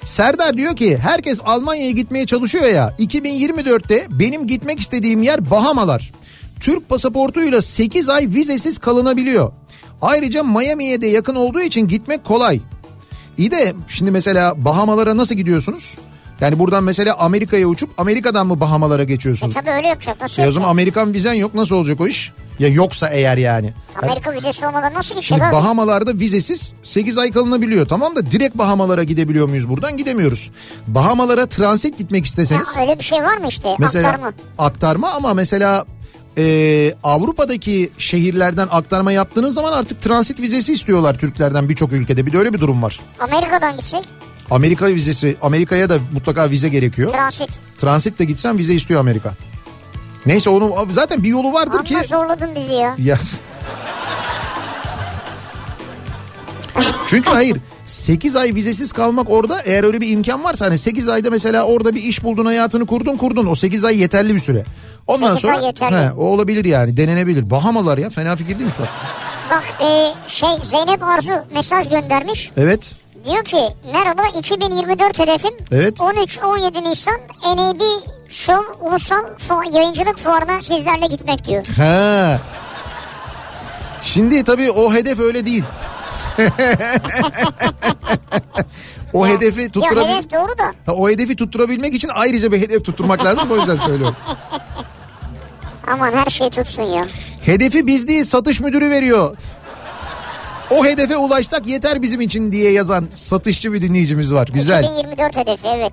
Serdar diyor ki herkes Almanya'ya gitmeye çalışıyor ya 2024'te benim gitmek istediğim yer Bahamalar. Türk pasaportuyla 8 ay vizesiz kalınabiliyor. Ayrıca Miami'ye de yakın olduğu için gitmek kolay. İyi de şimdi mesela Bahamalara nasıl gidiyorsunuz? Yani buradan mesela Amerika'ya uçup Amerika'dan mı Bahamalara E geçiyorsunuz? tabii öyle yapacak. Nasıl E o zaman yapacak? Amerikan vizen yok nasıl olacak o iş? Ya yoksa eğer yani. Amerika vizesi olmadan nasıl Şimdi gidecek abi? Bahamalarda vizesiz 8 ay kalınabiliyor. Tamam da direkt Bahamalara gidebiliyor muyuz buradan? Gidemiyoruz. Bahamalara transit gitmek Ya isteseniz öyle bir şey var mı işte? mesela Aktarma. aktarma ama mesela e, Avrupa'daki şehirlerden aktarma yaptığınız zaman artık transit vizesi istiyorlar Türklerden birçok ülkede. Bir de öyle bir durum var. Amerika'dan gidecek. Amerika vizesi Amerika'ya da mutlaka vize gerekiyor. Transit. Transitle gitsen vize istiyor Amerika. Neyse onun zaten bir yolu vardır Amma ki zorladın bizi ya. Ya. Çünkü hayır 8 ay vizesiz kalmak orada eğer öyle bir imkan varsa hani 8 ayda mesela orada bir iş buldun hayatını kurdun kurdun o 8 ay yeterli bir süre. Ondan 8 ay sonra yeterli. He, o olabilir yani denenebilir. Bahamalar ya fena fikir değilmiş bak. Bak e, şey Zeynep Arzu mesaj göndermiş. Evet. Diyor ki merhaba 2024 hedefim Evet. 13-17 Nisan NAB Show Ulusal Fu- Yayıncılık Fuarı'na sizlerle gitmek diyor. He. Şimdi tabii o hedef öyle değil. o hedefi Ya tutturabil hedef doğru da Ha, o hedefi tutturabilmek için ayrıca bir hedef tutturmak lazım o yüzden söylüyorum. aman her şey tutsun ya. Hedefi biz değil satış müdürü veriyor. O hedefe ulaşsak yeter bizim için diye yazan satışçı bir dinleyicimiz var. Güzel. 2024 hedefi evet.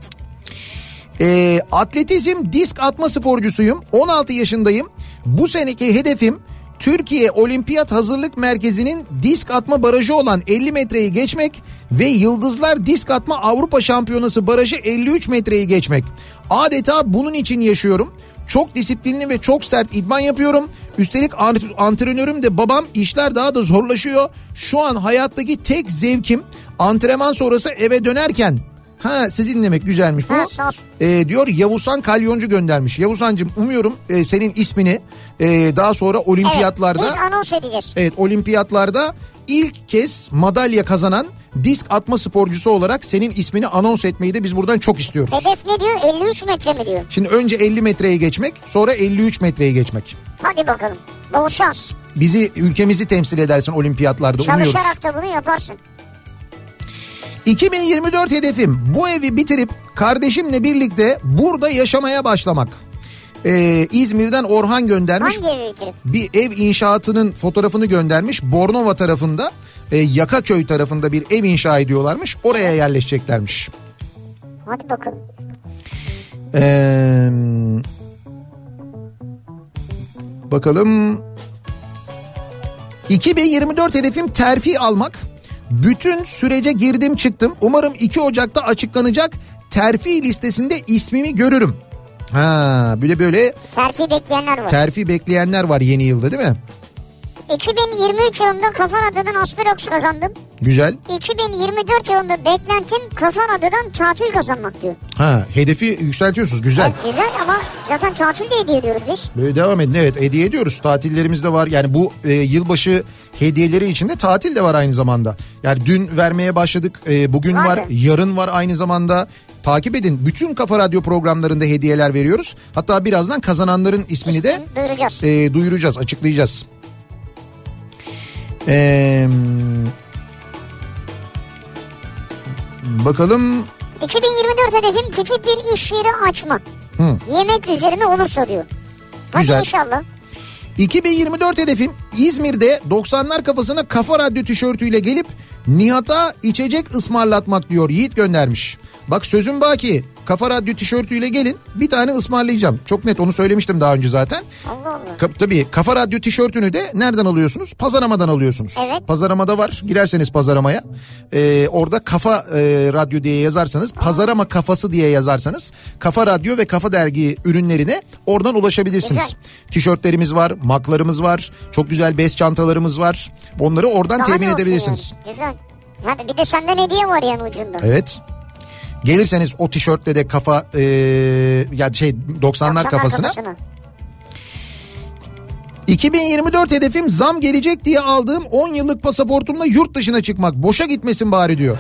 Ee, atletizm disk atma sporcusuyum. 16 yaşındayım. Bu seneki hedefim Türkiye Olimpiyat Hazırlık Merkezi'nin disk atma barajı olan 50 metreyi geçmek ve Yıldızlar Disk Atma Avrupa Şampiyonası barajı 53 metreyi geçmek. Adeta bunun için yaşıyorum. Çok disiplinli ve çok sert idman yapıyorum. Üstelik ant- antrenörüm de babam işler daha da zorlaşıyor. Şu an hayattaki tek zevkim antrenman sonrası eve dönerken Ha siz dinlemek güzelmiş bu. Ha, sağ olsun. E, diyor Yavuzhan Kalyoncu göndermiş. Yavuzhan'cığım umuyorum e, senin ismini e, daha sonra olimpiyatlarda... Evet, biz anons edeceğiz. Evet olimpiyatlarda ilk kez madalya kazanan disk atma sporcusu olarak senin ismini anons etmeyi de biz buradan çok istiyoruz. Hedef ne diyor? 53 metre mi diyor? Şimdi önce 50 metreye geçmek sonra 53 metreye geçmek. Hadi bakalım. Bol şans. Bizi ülkemizi temsil edersin olimpiyatlarda umuyoruz. Çalışarak da bunu yaparsın. 2024 hedefim bu evi bitirip kardeşimle birlikte burada yaşamaya başlamak. Ee, İzmir'den Orhan göndermiş. Hangi evi bitirip? bir ev inşaatının fotoğrafını göndermiş. Bornova tarafında e, Yakaköy tarafında bir ev inşa ediyorlarmış. Oraya yerleşeceklermiş. Hadi bakalım. Ee, bakalım. 2024 hedefim terfi almak. Bütün sürece girdim çıktım. Umarım 2 Ocak'ta açıklanacak terfi listesinde ismimi görürüm. Ha, böyle böyle Terfi bekleyenler var. terfi bekleyenler var yeni yılda değil mi? 2023 yılında Kafa Radyo'dan Aspirox kazandım. Güzel. 2024 yılında beklentim Kafa Radyo'dan tatil kazanmak diyor. Ha, hedefi yükseltiyorsunuz. Güzel. Evet, güzel ama zaten tatil de hediye ediyoruz biz. Böyle devam edin. Evet hediye ediyoruz. Tatillerimiz de var. Yani bu e, yılbaşı hediyeleri içinde tatil de var aynı zamanda. Yani dün vermeye başladık. E, bugün var, Var mı? yarın var aynı zamanda. Takip edin. Bütün Kafa Radyo programlarında hediyeler veriyoruz. Hatta birazdan kazananların ismini de Duyuracağız. e, duyuracağız, açıklayacağız. Eee, bakalım 2024 hedefim küçük bir iş yeri açmak. Hı. Yemek üzerine olursa diyor. Hadi Güzel. inşallah. 2024 hedefim İzmir'de 90'lar kafasına kafa radyo tişörtüyle gelip Nihat'a içecek ısmarlatmak diyor Yiğit göndermiş. Bak sözüm baki kafa radyo tişörtüyle gelin bir tane ısmarlayacağım. Çok net onu söylemiştim daha önce zaten. Allah Allah. Ka- tabii Kafa Radyo tişörtünü de nereden alıyorsunuz? Pazaramadan alıyorsunuz. Evet. Pazaramada var. Girerseniz pazaramaya. Ee, orada Kafa e, Radyo diye yazarsanız, Pazarama Kafası diye yazarsanız Kafa Radyo ve Kafa Dergi ürünlerine oradan ulaşabilirsiniz. Güzel. Tişörtlerimiz var, maklarımız var, çok güzel bez çantalarımız var. Onları oradan Daha temin ne olsun edebilirsiniz. yani? Güzel. Hadi bir de senden hediye var yani ucunda. Evet. Gelirseniz o tişörtle de kafa e, ya şey 90'lar, Akşamlar kafasına 2024 hedefim zam gelecek diye aldığım 10 yıllık pasaportumla yurt dışına çıkmak. Boşa gitmesin bari diyor.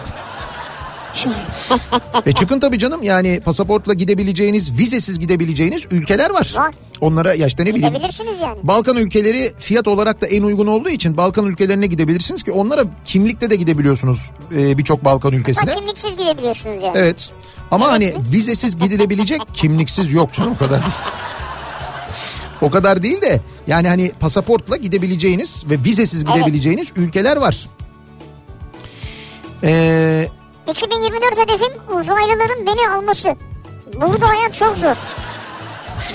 e çıkın tabii canım yani pasaportla gidebileceğiniz, vizesiz gidebileceğiniz ülkeler var. Var. Onlara ya işte ne bileyim. Gidebilirsiniz yani. Balkan ülkeleri fiyat olarak da en uygun olduğu için Balkan ülkelerine gidebilirsiniz ki onlara kimlikle de gidebiliyorsunuz e, birçok Balkan Bak ülkesine. kimliksiz gidebiliyorsunuz yani. Evet. Ama hani vizesiz gidilebilecek kimliksiz yok canım o kadar. değil. O kadar değil de yani hani pasaportla gidebileceğiniz ve vizesiz Evet. gidebileceğiniz ülkeler var. Ee, 2024 hedefim uzaylıların beni alması. Burada hayat çok zor.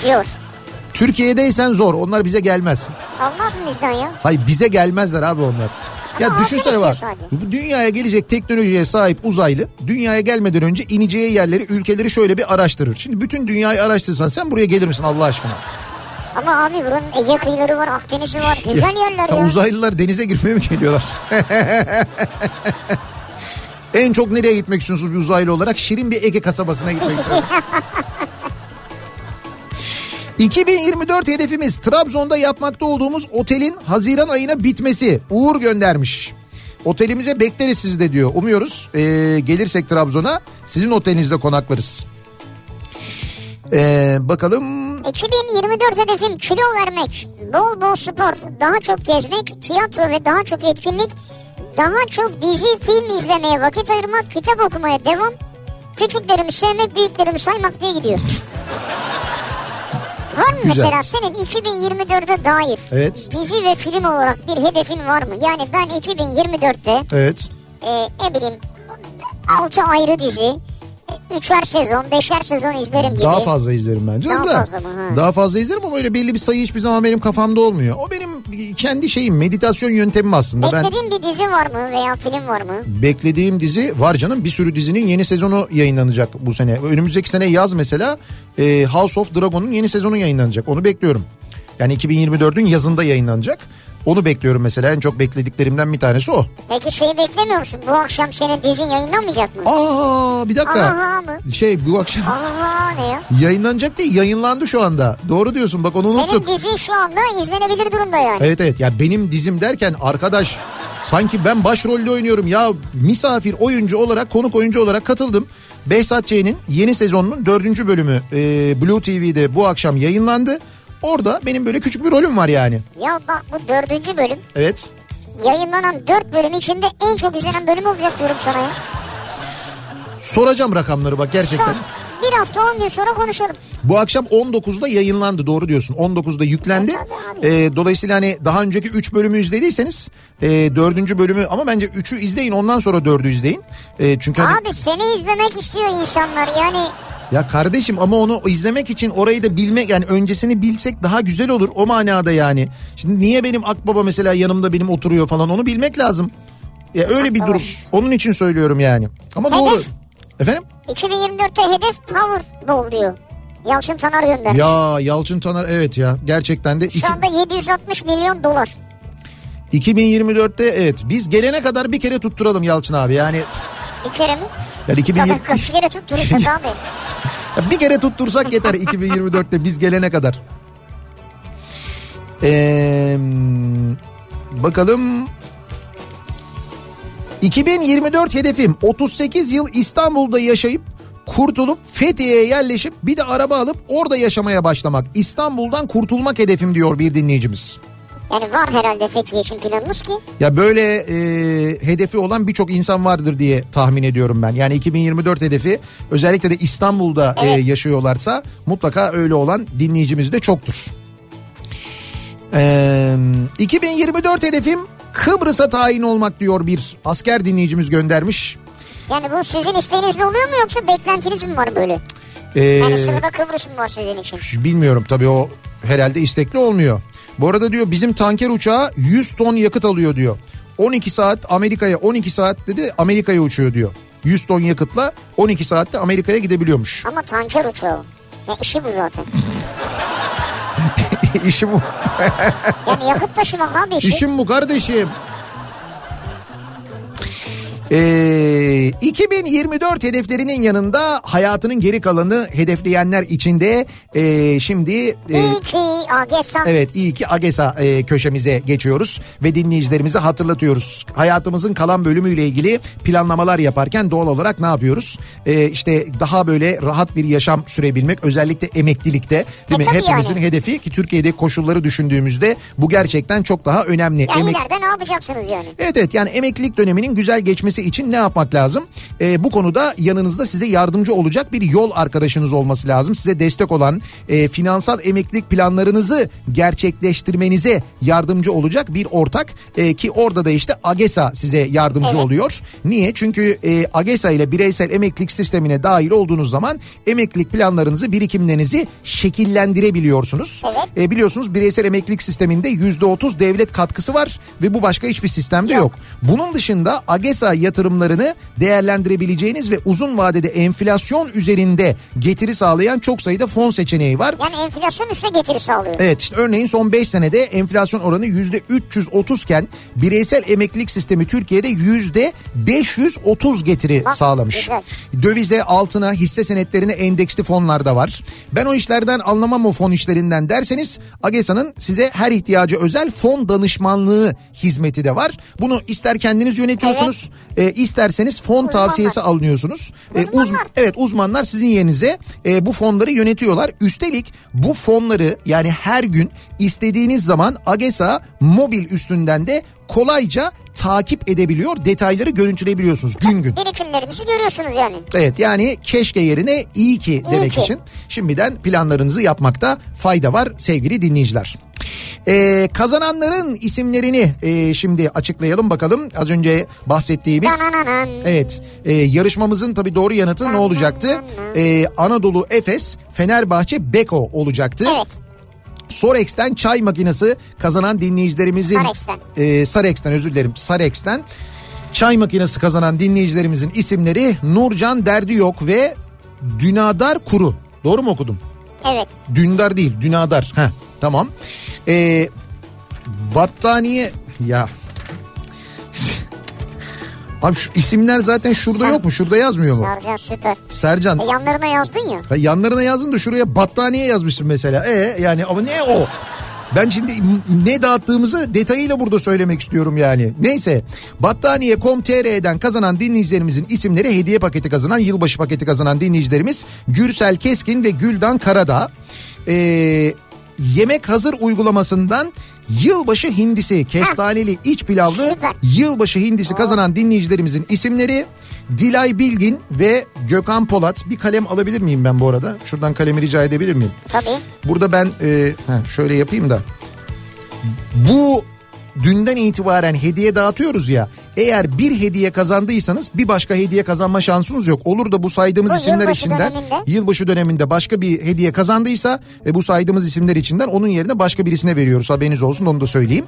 Diyor. Türkiye'deysen zor onlar bize gelmez. Almaz mı bizden ya? Hayır bize gelmezler abi onlar. Ya Ama şey düşünsene alsın var. istiyorsa hadi. Bu Dünyaya gelecek teknolojiye sahip uzaylı dünyaya gelmeden önce ineceği yerleri ülkeleri şöyle bir araştırır. Şimdi bütün dünyayı araştırsan sen buraya gelir misin Allah aşkına? Ama abi buranın Ege kıyıları var, Akdeniz'i var. Güzel yerler Ya ya. Uzaylılar denize girmeye mi geliyorlar? en çok nereye gitmek istiyorsunuz bir uzaylı olarak? Şirin bir Ege kasabasına gitmek istiyorum. 2024 hedefimiz Trabzon'da yapmakta olduğumuz otelin Haziran ayına bitmesi. Uğur göndermiş. Otelimize bekleriz sizi de diyor. Umuyoruz ee, gelirsek Trabzon'a sizin otelinizde konaklarız. Ee, bakalım 2024 hedefim kilo vermek, bol bol spor, daha çok gezmek, tiyatro ve daha çok etkinlik, daha çok dizi, film izlemeye vakit ayırmak, kitap okumaya devam, küçüklerimi sevmek, büyüklerimi saymak diye gidiyor. Var mı Güzel. mesela senin 2024'e dair Evet. dizi ve film olarak bir hedefin var mı? Yani ben 2024'te evet e, ne bileyim 6 ayrı dizi, 3'er sezon, 5'er sezon izlerim gibi. Daha fazla izlerim bence. Daha da, fazla mı? Ha. Daha fazla izlerim ama öyle belli bir sayı hiçbir zaman benim kafamda olmuyor. O benim kendi şeyim meditasyon yöntemim aslında. Ben Beklediğin bir dizi var mı veya film var mı? beklediğim dizi var canım. Bir sürü dizinin yeni sezonu yayınlanacak bu sene. Önümüzdeki sene yaz mesela e, House of Dragon'un yeni sezonu yayınlanacak. Onu bekliyorum. Yani 2024'ün yazında yayınlanacak. Onu bekliyorum mesela. En çok beklediklerimden bir tanesi o. Peki şeyi beklemiyor musun? Bu akşam senin dizin yayınlanmayacak mı? Aa bir dakika. Aha mı? Şey bu akşam Aha ne ya? yayınlanacak değil yayınlandı şu anda. Doğru diyorsun bak onu unuttuk. Senin dizin şu anda izlenebilir durumda yani. Evet evet ya benim dizim derken arkadaş sanki ben başrolde oynuyorum ya misafir oyuncu olarak konuk oyuncu olarak katıldım. Behzat Ç'nin yeni sezonunun dördüncü bölümü e, Blue TV'de bu akşam yayınlandı. Orada benim böyle küçük bir rolüm var yani. Ya bak bu dördüncü bölüm. Evet. Yayınlanan dört bölüm içinde en çok izlenen bölüm olacak diyorum sana ya. Soracağım rakamları bak gerçekten. Son bir hafta on gün sonra konuşalım. Bu akşam 19'da yayınlandı doğru diyorsun. 19'da yüklendi. Tabii E, dolayısıyla hani daha önceki 3 bölümü izlediyseniz e, 4. bölümü ama bence 3'ü izleyin ondan sonra 4'ü izleyin. E, çünkü hani- Abi seni izlemek istiyor insanlar yani. Ya kardeşim ama onu izlemek için orayı da bilmek yani öncesini bilsek daha güzel olur o manada yani. Şimdi niye benim akbaba mesela yanımda benim oturuyor falan onu bilmek lazım. Ya öyle bir Tamam. durum. Onun için söylüyorum yani. Ama doğru. Hedef. Efendim? 2024'te hedef Powerball diyor. Yalçın Tanar göndermiş. Ya Yalçın Taner evet ya gerçekten de iki- Şu anda 760 milyon dolar. 2024'te evet biz gelene kadar bir kere tutturalım Yalçın abi yani. Bir kere mi? Yani Zaten 2020 kaç kere tutturursunuz abi. Ya Bir kere tuttursak yeter 2024'te biz gelene kadar. Ee, bakalım. 2024 hedefim 38 yıl İstanbul'da yaşayıp kurtulup Fethiye'ye yerleşip bir de araba alıp orada yaşamaya başlamak. İstanbul'dan kurtulmak hedefim diyor bir dinleyicimiz. Yani var herhalde Fethiye için planımız ki. Ya böyle e, hedefi olan birçok insan vardır diye tahmin ediyorum ben. Yani 2024 hedefi özellikle de İstanbul'da e, Evet. yaşıyorlarsa mutlaka öyle olan dinleyicimiz de çoktur. Ee, 2024 hedefim Kıbrıs'a tayin olmak diyor bir asker dinleyicimiz göndermiş. Yani bu sizin isteğinizle oluyor mu yoksa beklentiniz mi var böyle? Ee, Yani sırada Kıbrıs mı var sizin için? bilmiyorum tabii o herhalde istekli olmuyor. Bu arada diyor bizim tanker uçağı 100 ton yakıt alıyor diyor. 12 saat Amerika'ya 12 saat dedi Amerika'ya uçuyor diyor. 100 ton yakıtla 12 saatte Amerika'ya gidebiliyormuş. Ama tanker uçağı. Ya işi bu zaten. İşi bu. Yani yakıt taşımak abi işi. İşim bu kardeşim. Ee, 2024 hedeflerinin yanında hayatının geri kalanı hedefleyenler içinde ee, şimdi ee, İyi ki AGESA. Evet iyi ki AGESA e, köşemize geçiyoruz ve dinleyicilerimize hatırlatıyoruz. Hayatımızın kalan bölümüyle ilgili planlamalar yaparken doğal olarak ne yapıyoruz? E, işte daha böyle rahat bir yaşam sürebilmek özellikle emeklilikte değil E, mi? tabii Hepimizin yani. hedefi ki Türkiye'de koşulları düşündüğümüzde bu gerçekten çok daha önemli. Yani Emek- ileride ne yapacaksınız yani? Evet evet yani emeklilik döneminin güzel geçmesi için ne yapmak lazım? Ee, bu konuda yanınızda size yardımcı olacak bir yol arkadaşınız olması lazım. Size destek olan e, finansal emeklilik planlarınızı gerçekleştirmenize yardımcı olacak bir ortak E, ki orada da işte AGESA size yardımcı oluyor. Niye? Çünkü e, AGESA ile bireysel emeklilik sistemine dahil olduğunuz zaman emeklilik planlarınızı birikimlerinizi şekillendirebiliyorsunuz. Evet. E, biliyorsunuz bireysel emeklilik sisteminde %30 devlet katkısı var ve bu başka hiçbir sistemde yok. Bunun dışında AGESA yatırımlarını değerlendirebileceğiniz ve uzun vadede enflasyon üzerinde getiri sağlayan çok sayıda fon seçeneği var. Yani enflasyon üstüne getiri sağlıyor. Evet işte örneğin son 5 senede enflasyon oranı %330 iken bireysel emeklilik sistemi Türkiye'de %530 getiri Bak, sağlamış. güzel. Dövize, altına, hisse senetlerine endeksli fonlar da var. Ben o işlerden anlamam o fon işlerinden derseniz AGESA'nın size her ihtiyaca özel fon danışmanlığı hizmeti de var. Bunu ister kendiniz yönetiyorsunuz, e, isterseniz fon Uzmanlar. tavsiyesi alıyorsunuz. E, uz- Uzmanlar. Evet uzmanlar sizin yerinize e, bu fonları yönetiyorlar. Üstelik bu fonları yani her gün istediğiniz zaman AGESA mobil üstünden de kolayca takip edebiliyor. Detayları görüntüleyebiliyorsunuz gün gün. Birikimlerinizi görüyorsunuz yani. Evet yani keşke yerine iyi ki İyi demek ki. için şimdiden planlarınızı yapmakta fayda var sevgili dinleyiciler. E, kazananların isimlerini e, şimdi açıklayalım bakalım. Az önce bahsettiğimiz... Danananan. Evet e, yarışmamızın tabii doğru yanıtı ne olacaktı? E, Anadolu Efes, Fenerbahçe, Beko olacaktı. Evet. Sorex'ten çay makinesi kazanan dinleyicilerimizin... Sarex'ten. E, Sarex'ten özür dilerim Sarex'ten. Çay makinesi kazanan dinleyicilerimizin isimleri Nurcan Derdi Yok ve Dünadar Kuru. Doğru mu okudum? Evet. Dündar değil Dünadar. Heh, tamam. Ee, battaniye ya. Abi şu isimler zaten şurada Ser- yok mu? Şurada yazmıyor mu? Sarcan süper. Sercan. E, yanlarına yazdın ya. Ya yanlarına yazdın da şuraya battaniye yazmışsın mesela. E yani ama ne o? Ben şimdi ne dağıttığımızı detayıyla burada söylemek istiyorum yani. Neyse battaniye.com.tr'den kazanan dinleyicilerimizin isimleri hediye paketi kazanan, yılbaşı paketi kazanan dinleyicilerimiz Gürsel Keskin ve Güldan Karadağ. Ee, yemek hazır uygulamasından yılbaşı hindisi, kestaneli iç pilavlı süper. Yılbaşı hindisi kazanan dinleyicilerimizin isimleri Dilay Bilgin ve Gökhan Polat. Bir kalem alabilir miyim ben bu arada? Şuradan kalemi rica edebilir miyim? Tabii. Burada ben e, heh, şöyle yapayım da. Bu dünden itibaren hediye dağıtıyoruz ya. Eğer bir hediye kazandıysanız bir başka hediye kazanma şansınız yok. Olur da bu saydığımız Bu isimler yılbaşı içinden döneminde? yılbaşı döneminde başka bir hediye kazandıysa e, bu saydığımız isimler içinden onun yerine başka birisine veriyoruz. Haberiniz olsun onu da söyleyeyim.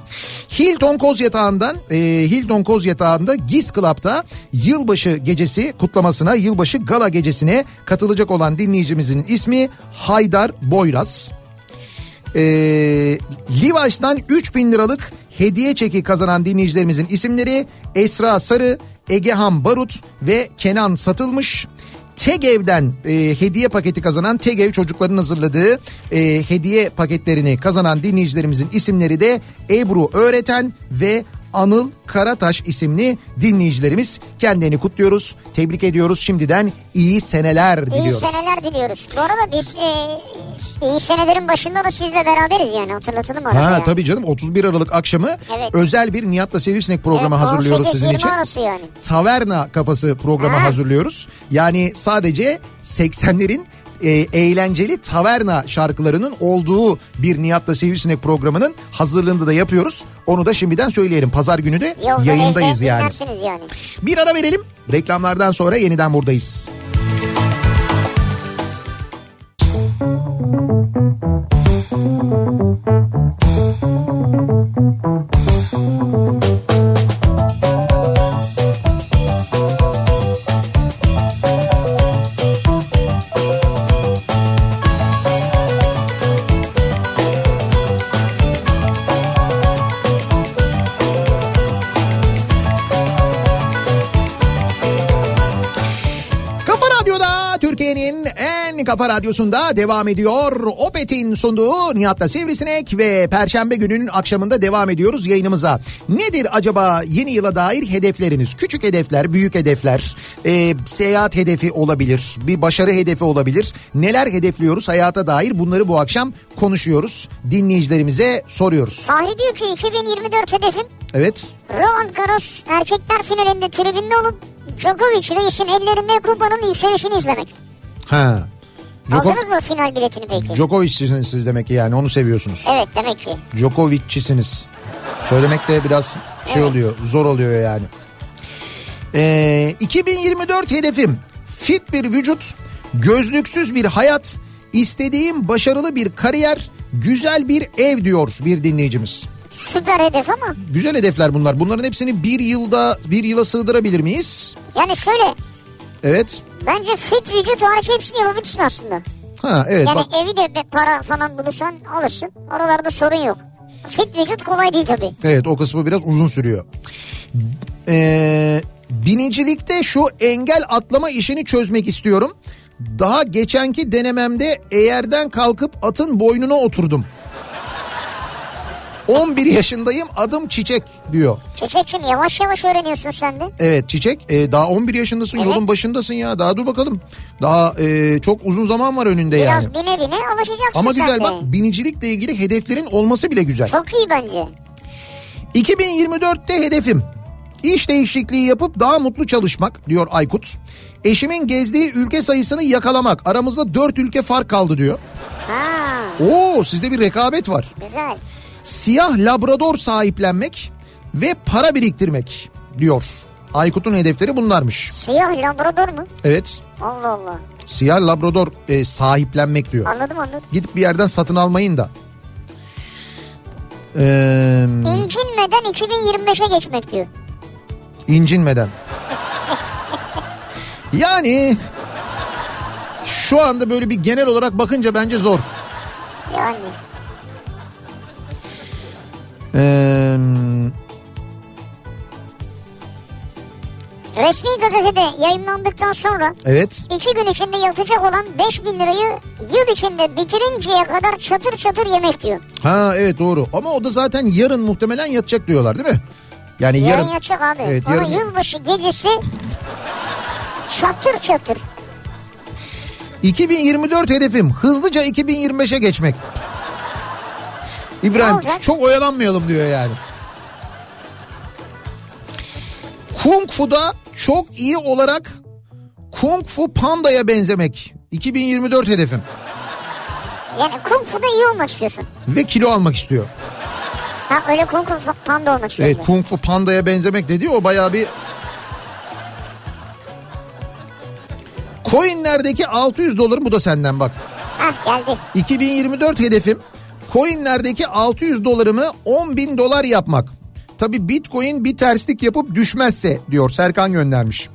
Hilton Koz Yatağı'ndan e, Hilton Koz Yatağı'nda Giz Club'da yılbaşı gecesi kutlamasına, yılbaşı gala gecesine katılacak olan dinleyicimizin ismi Haydar Boyraz. E, Livaş'tan 3000 liralık hediye çeki kazanan dinleyicilerimizin isimleri Esra Sarı, Egehan Barut ve Kenan Satılmış. Tegev'den e, hediye paketi kazanan Tegev çocukların hazırladığı e, hediye paketlerini kazanan dinleyicilerimizin isimleri de Ebru Öğreten ve Anıl Karataş isimli dinleyicilerimiz. Kendilerini kutluyoruz, tebrik ediyoruz. Şimdiden iyi seneler İyi diliyoruz. seneler diliyoruz. Bu arada biz e, iyi senelerin başında da sizle beraberiz yani hatırlatalım arada. Ha yani. tabii canım 31 Aralık akşamı Evet. özel bir Nihat'la Sivrisinek programı Evet, hazırlıyoruz 18-20 sizin için. arası yani. Taverna kafası programı Ha. hazırlıyoruz. Yani sadece 80'lerin e, eğlenceli taverna şarkılarının olduğu bir Nihat'la Sivrisinek programının hazırlığını da yapıyoruz. Onu da şimdiden söyleyelim. Pazar günü de Yolda yayındayız evde yani. dinlersiniz yani. Bir ara verelim. Reklamlardan sonra yeniden buradayız. Kafa Radyo'da Türkiye'nin en kafa radyosunda devam ediyor. Opet'in sunduğu Nihat'la Sivrisinek ve Perşembe gününün akşamında devam ediyoruz yayınımıza. Nedir acaba yeni yıla dair hedefleriniz? Küçük hedefler, büyük hedefler, e, seyahat hedefi olabilir, bir başarı hedefi olabilir. Neler hedefliyoruz hayata dair bunları bu akşam konuşuyoruz. Dinleyicilerimize soruyoruz. Fahri diyor ki 2024 hedefim Evet. Roland Garros erkekler finalinde tribünde olup Djokovic reisin ellerinde kupanın yükselişini izlemek. Ha. Djoko- Aldınız mı final biletini peki? Djokovic'siniz siz demek ki yani onu seviyorsunuz. evet demek ki. Djokovic'çisiniz. Söylemek de biraz şey oluyor, zor oluyor yani. Ee, 2024 hedefim fit bir vücut, gözlüksüz bir hayat, istediğim başarılı bir kariyer, güzel bir ev diyor bir dinleyicimiz. Süper hedef ama Güzel hedefler bunlar. Bunların hepsini bir yılda bir yıla sığdırabilir miyiz? yani şöyle Evet. bence fit vücut hariç hepsini yapabilirsin aslında. Ha evet Yani E bak. evi de be- para falan bulursan alırsın. Oralarda sorun yok. Fit vücut kolay değil tabii. Evet o kısmı biraz uzun sürüyor. Ee, binicilikte şu engel atlama işini çözmek istiyorum. Daha geçenki denememde eğerden kalkıp atın boynuna oturdum. 11 yaşındayım adım Çiçek diyor. Çiçekçim yavaş yavaş öğreniyorsun sen de. Evet Çiçek e, daha 11 yaşındasın Evet. yolun başındasın ya daha dur bakalım. Daha e, çok uzun zaman var önünde Biraz yani. bine bine alışacaksın Ama sen güzel de. bak binicilikle ilgili hedeflerin olması bile güzel. Çok iyi bence. 2024'te hedefim iş değişikliği yapıp daha mutlu çalışmak diyor Aykut. Eşimin gezdiği ülke sayısını yakalamak. Aramızda 4 ülke fark kaldı diyor. Ha Oo sizde bir rekabet var. güzel. Siyah labrador sahiplenmek ve para biriktirmek diyor. Aykut'un hedefleri bunlarmış. Siyah Şey labrador mu? Evet. Allah Allah. Siyah labrador e, sahiplenmek diyor. Anladım anladım. Gidip bir yerden satın almayın da. Ee, İncinmeden 2025'e geçmek diyor. incinmeden. Yani şu anda böyle bir genel olarak bakınca bence zor. Yani Ee, resmi gazetede yayınlandıktan sonra evet. iki gün içinde yatacak olan 5000 lirayı yıl içinde bitirinceye kadar çatır çatır yemek diyor. Ha evet doğru. Ama o da zaten yarın muhtemelen yatacak diyorlar değil mi? Yani Yarın, yarın. yatacak abi. Evet, Ama yarın- yılbaşı gecesi çatır çatır. 2024 hedefim hızlıca 2025'e geçmek. Ne İbrahim olacak? çok oyalanmayalım diyor yani. Kung Fu'da çok iyi olarak Kung Fu Panda'ya benzemek. 2024 hedefim. Yani kung fu'da iyi olmak istiyorsun. Ve kilo almak istiyor. Ha öyle kung fu panda olmak istiyorsun. Evet Kung Fu Panda'ya benzemek dedi o bayağı bir... Coinlerdeki 600 dolarım bu da senden bak. Hah geldi. 2024 hedefim coinlerdeki 600 dolarımı 10 bin dolar yapmak. Tabi bitcoin bir terslik yapıp düşmezse diyor Serkan göndermiş.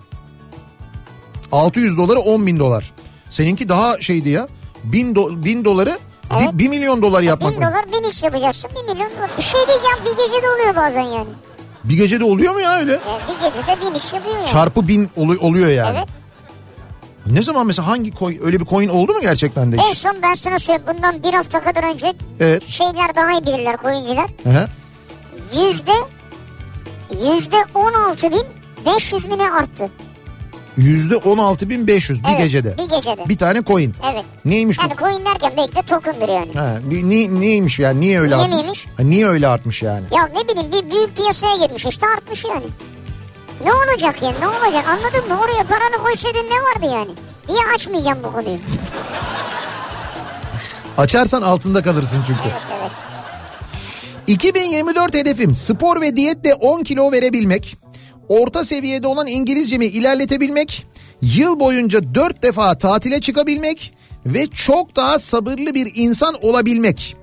600 doları 10 bin dolar. Seninki daha şeydi ya. 1000, do- 1000 doları Evet. E, 1 milyon dolar yapmak. Bin mı? dolar bin iş yapacaksın. Bir milyon dolar. Bir şey değil ya bir gecede oluyor bazen yani. Bir gecede oluyor mu ya öyle? E, bir gecede bin iş yapıyor yani. Çarpı bin olu- oluyor yani. Evet. Ne zaman mesela hangi coin, öyle bir coin oldu mu gerçekten de En hiç? son ben sana söyleyeyim. Bundan bir hafta kadar önce Evet. şeyler daha iyi bilirler koyuncular. Hı-hı. Yüzde yüzde on altı bin 500 bine arttı. %16.500 bir Evet, gecede. Bir gecede. Bir tane coin. Evet. Neymiş bu Yani coin derken belki de token'dır yani. Ha, ni, ni- niyeymiş yani niye öyle Niye artmış? miymiş? Ha, niye öyle artmış yani? Ya ne bileyim bir büyük piyasaya girmiş işte artmış yani. Ne olacak yani ne olacak anladın mı? Oraya paranı koysaydın ne vardı yani? diye açmayacağım bu konuyu. Açarsan altında kalırsın çünkü. evet evet. 2024 hedefim spor ve diyetle 10 kilo verebilmek. Orta seviyede olan İngilizcemi ilerletebilmek. Yıl boyunca 4 defa tatile çıkabilmek ve çok daha sabırlı bir insan olabilmek.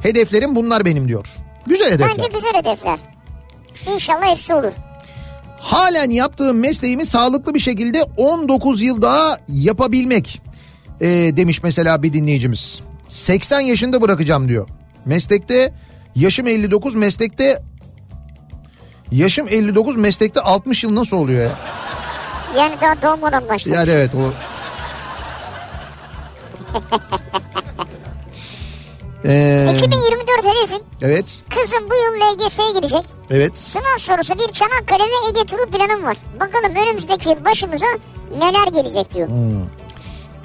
Hedeflerim bunlar benim diyor. Güzel hedefler. Bence güzel hedefler. İnşallah hepsi olur. Halen yaptığım mesleğimi sağlıklı bir şekilde 19 yıl daha yapabilmek e, demiş mesela bir dinleyicimiz. 80 yaşında bırakacağım diyor. Meslekte yaşım 59 meslekte yaşım 59 meslekte 60 yıl nasıl oluyor ya? Yani daha doğmadan başlamış. Yani evet o. Ee, 2024 hedefim evet kızım bu yıl LGS'ye gidecek. evet Sınav sorusu bir Çanakkale ve Ege turu planım var. Bakalım önümüzdeki yıl başımıza neler gelecek diyor.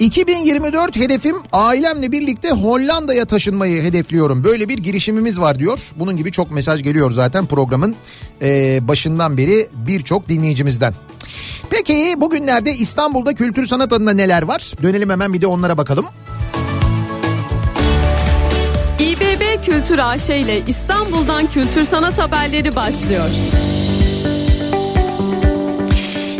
2024 hedefim ailemle birlikte Hollanda'ya taşınmayı hedefliyorum. Böyle bir girişimimiz var diyor. Bunun gibi çok mesaj geliyor zaten programın eee, başından beri birçok dinleyicimizden. Peki bugünlerde İstanbul'da kültür sanat adına neler var? Dönelim hemen bir de onlara bakalım. İBB Kültür AŞ ile İstanbul'dan kültür sanat haberleri başlıyor.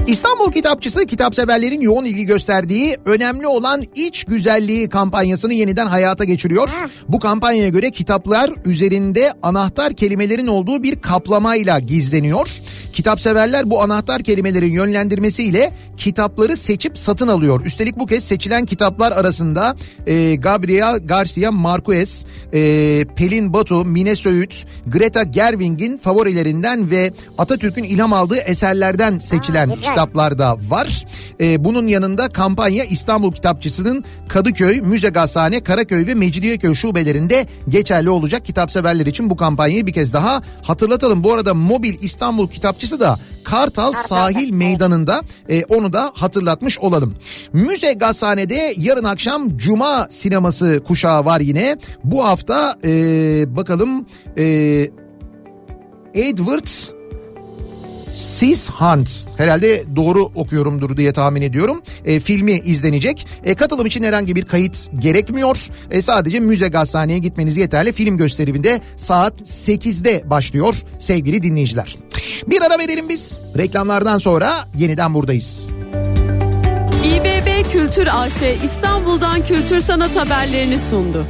İstanbul Kitapçısı kitapseverlerin yoğun ilgi gösterdiği önemli olan iç güzelliği kampanyasını yeniden hayata geçiriyor. Bu kampanyaya göre kitaplar üzerinde anahtar kelimelerin olduğu bir kaplamayla gizleniyor. Kitapseverler bu anahtar kelimelerin yönlendirmesiyle kitapları seçip satın alıyor. Üstelik bu kez seçilen kitaplar arasında e, Gabriel Garcia Marquez, e, Pelin Batu, Mine Söğüt, Greta Gerwig'in favorilerinden ve Atatürk'ün ilham aldığı eserlerden seçilen güzel. kitap kitaplar da var. Ee, bunun yanında kampanya İstanbul Kitapçısı'nın Kadıköy, Müze Gazhane, Karaköy ve Mecidiyeköy şubelerinde geçerli olacak. Kitapseverler için bu kampanyayı bir kez daha hatırlatalım. Bu arada mobil İstanbul Kitapçısı da Kartal Sahil Meydanı'nda e, onu da hatırlatmış olalım. Müze Gazhane'de yarın akşam Cuma sineması kuşağı var yine. Bu hafta e, bakalım e, Edward Sis Hunt herhalde doğru okuyorumdur diye tahmin ediyorum. E, filmi izlenecek. E, katılım için herhangi bir kayıt gerekmiyor. E, sadece müze gazhaneye gitmeniz yeterli. Film gösteriminde saat 8'de başlıyor sevgili dinleyiciler. Bir ara verelim biz. Reklamlardan sonra yeniden buradayız. İBB Kültür AŞ İstanbul'dan kültür sanat haberlerini sundu.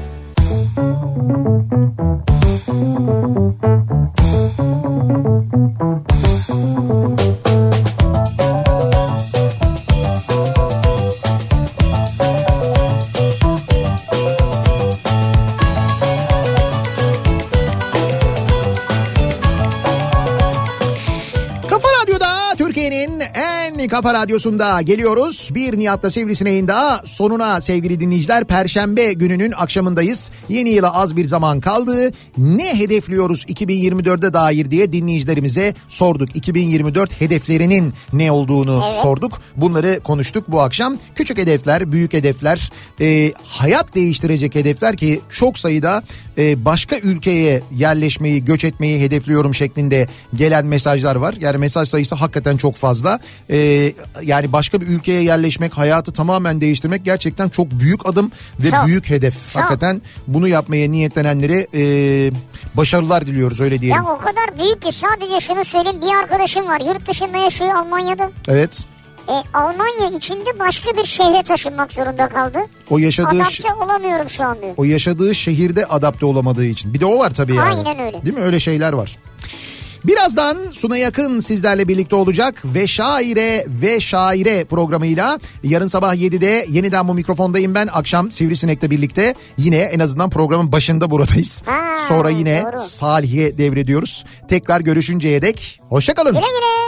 Kafa Radyo'da Türkiye'nin en kafa radyosunda geliyoruz. Bir Nihat'la Sivrisineğin daha sonuna sevgili dinleyiciler. Perşembe gününün akşamındayız. Yeni yıla az bir zaman kaldı. Ne hedefliyoruz 2024'e dair diye dinleyicilerimize sorduk. 2024 hedeflerinin ne olduğunu sorduk. Bunları konuştuk bu akşam. Küçük hedefler, büyük hedefler, e, hayat değiştirecek hedefler ki çok sayıda e, başka ülkeye yerleşmeyi, göç etmeyi hedefliyorum şeklinde gelen mesajlar var. Yani mesaj sayısı hakikaten çok fazla. E, yani başka bir ülkeye yerleşmek, hayatı tamamen değiştirmek gerçekten çok büyük adım ve Çok. büyük hedef. Hakikaten bunu yapmaya niyetlenenlere e, başarılar diliyoruz öyle diyelim. Ya o kadar büyük ki sadece şunu söyleyeyim bir arkadaşım var yurt dışında yaşıyor Almanya'da. Evet. E, Almanya içinde başka bir şehre taşınmak zorunda kaldı. O yaşadığı ş- Adapte olamıyorum şu an diyor. o yaşadığı şehirde adapte olamadığı için. Bir de o var tabii yani. Aynen öyle. Değil mi? Öyle şeyler var. Birazdan Suna Yakın sizlerle birlikte olacak ve şaire ve şaire programıyla yarın sabah 7'de yeniden bu mikrofondayım ben. Akşam Sivrisinek'le birlikte yine en azından programın başında buradayız. Ha, Sonra yine doğru. Salih'e devrediyoruz. Tekrar görüşünceye dek hoşçakalın. Güle güle.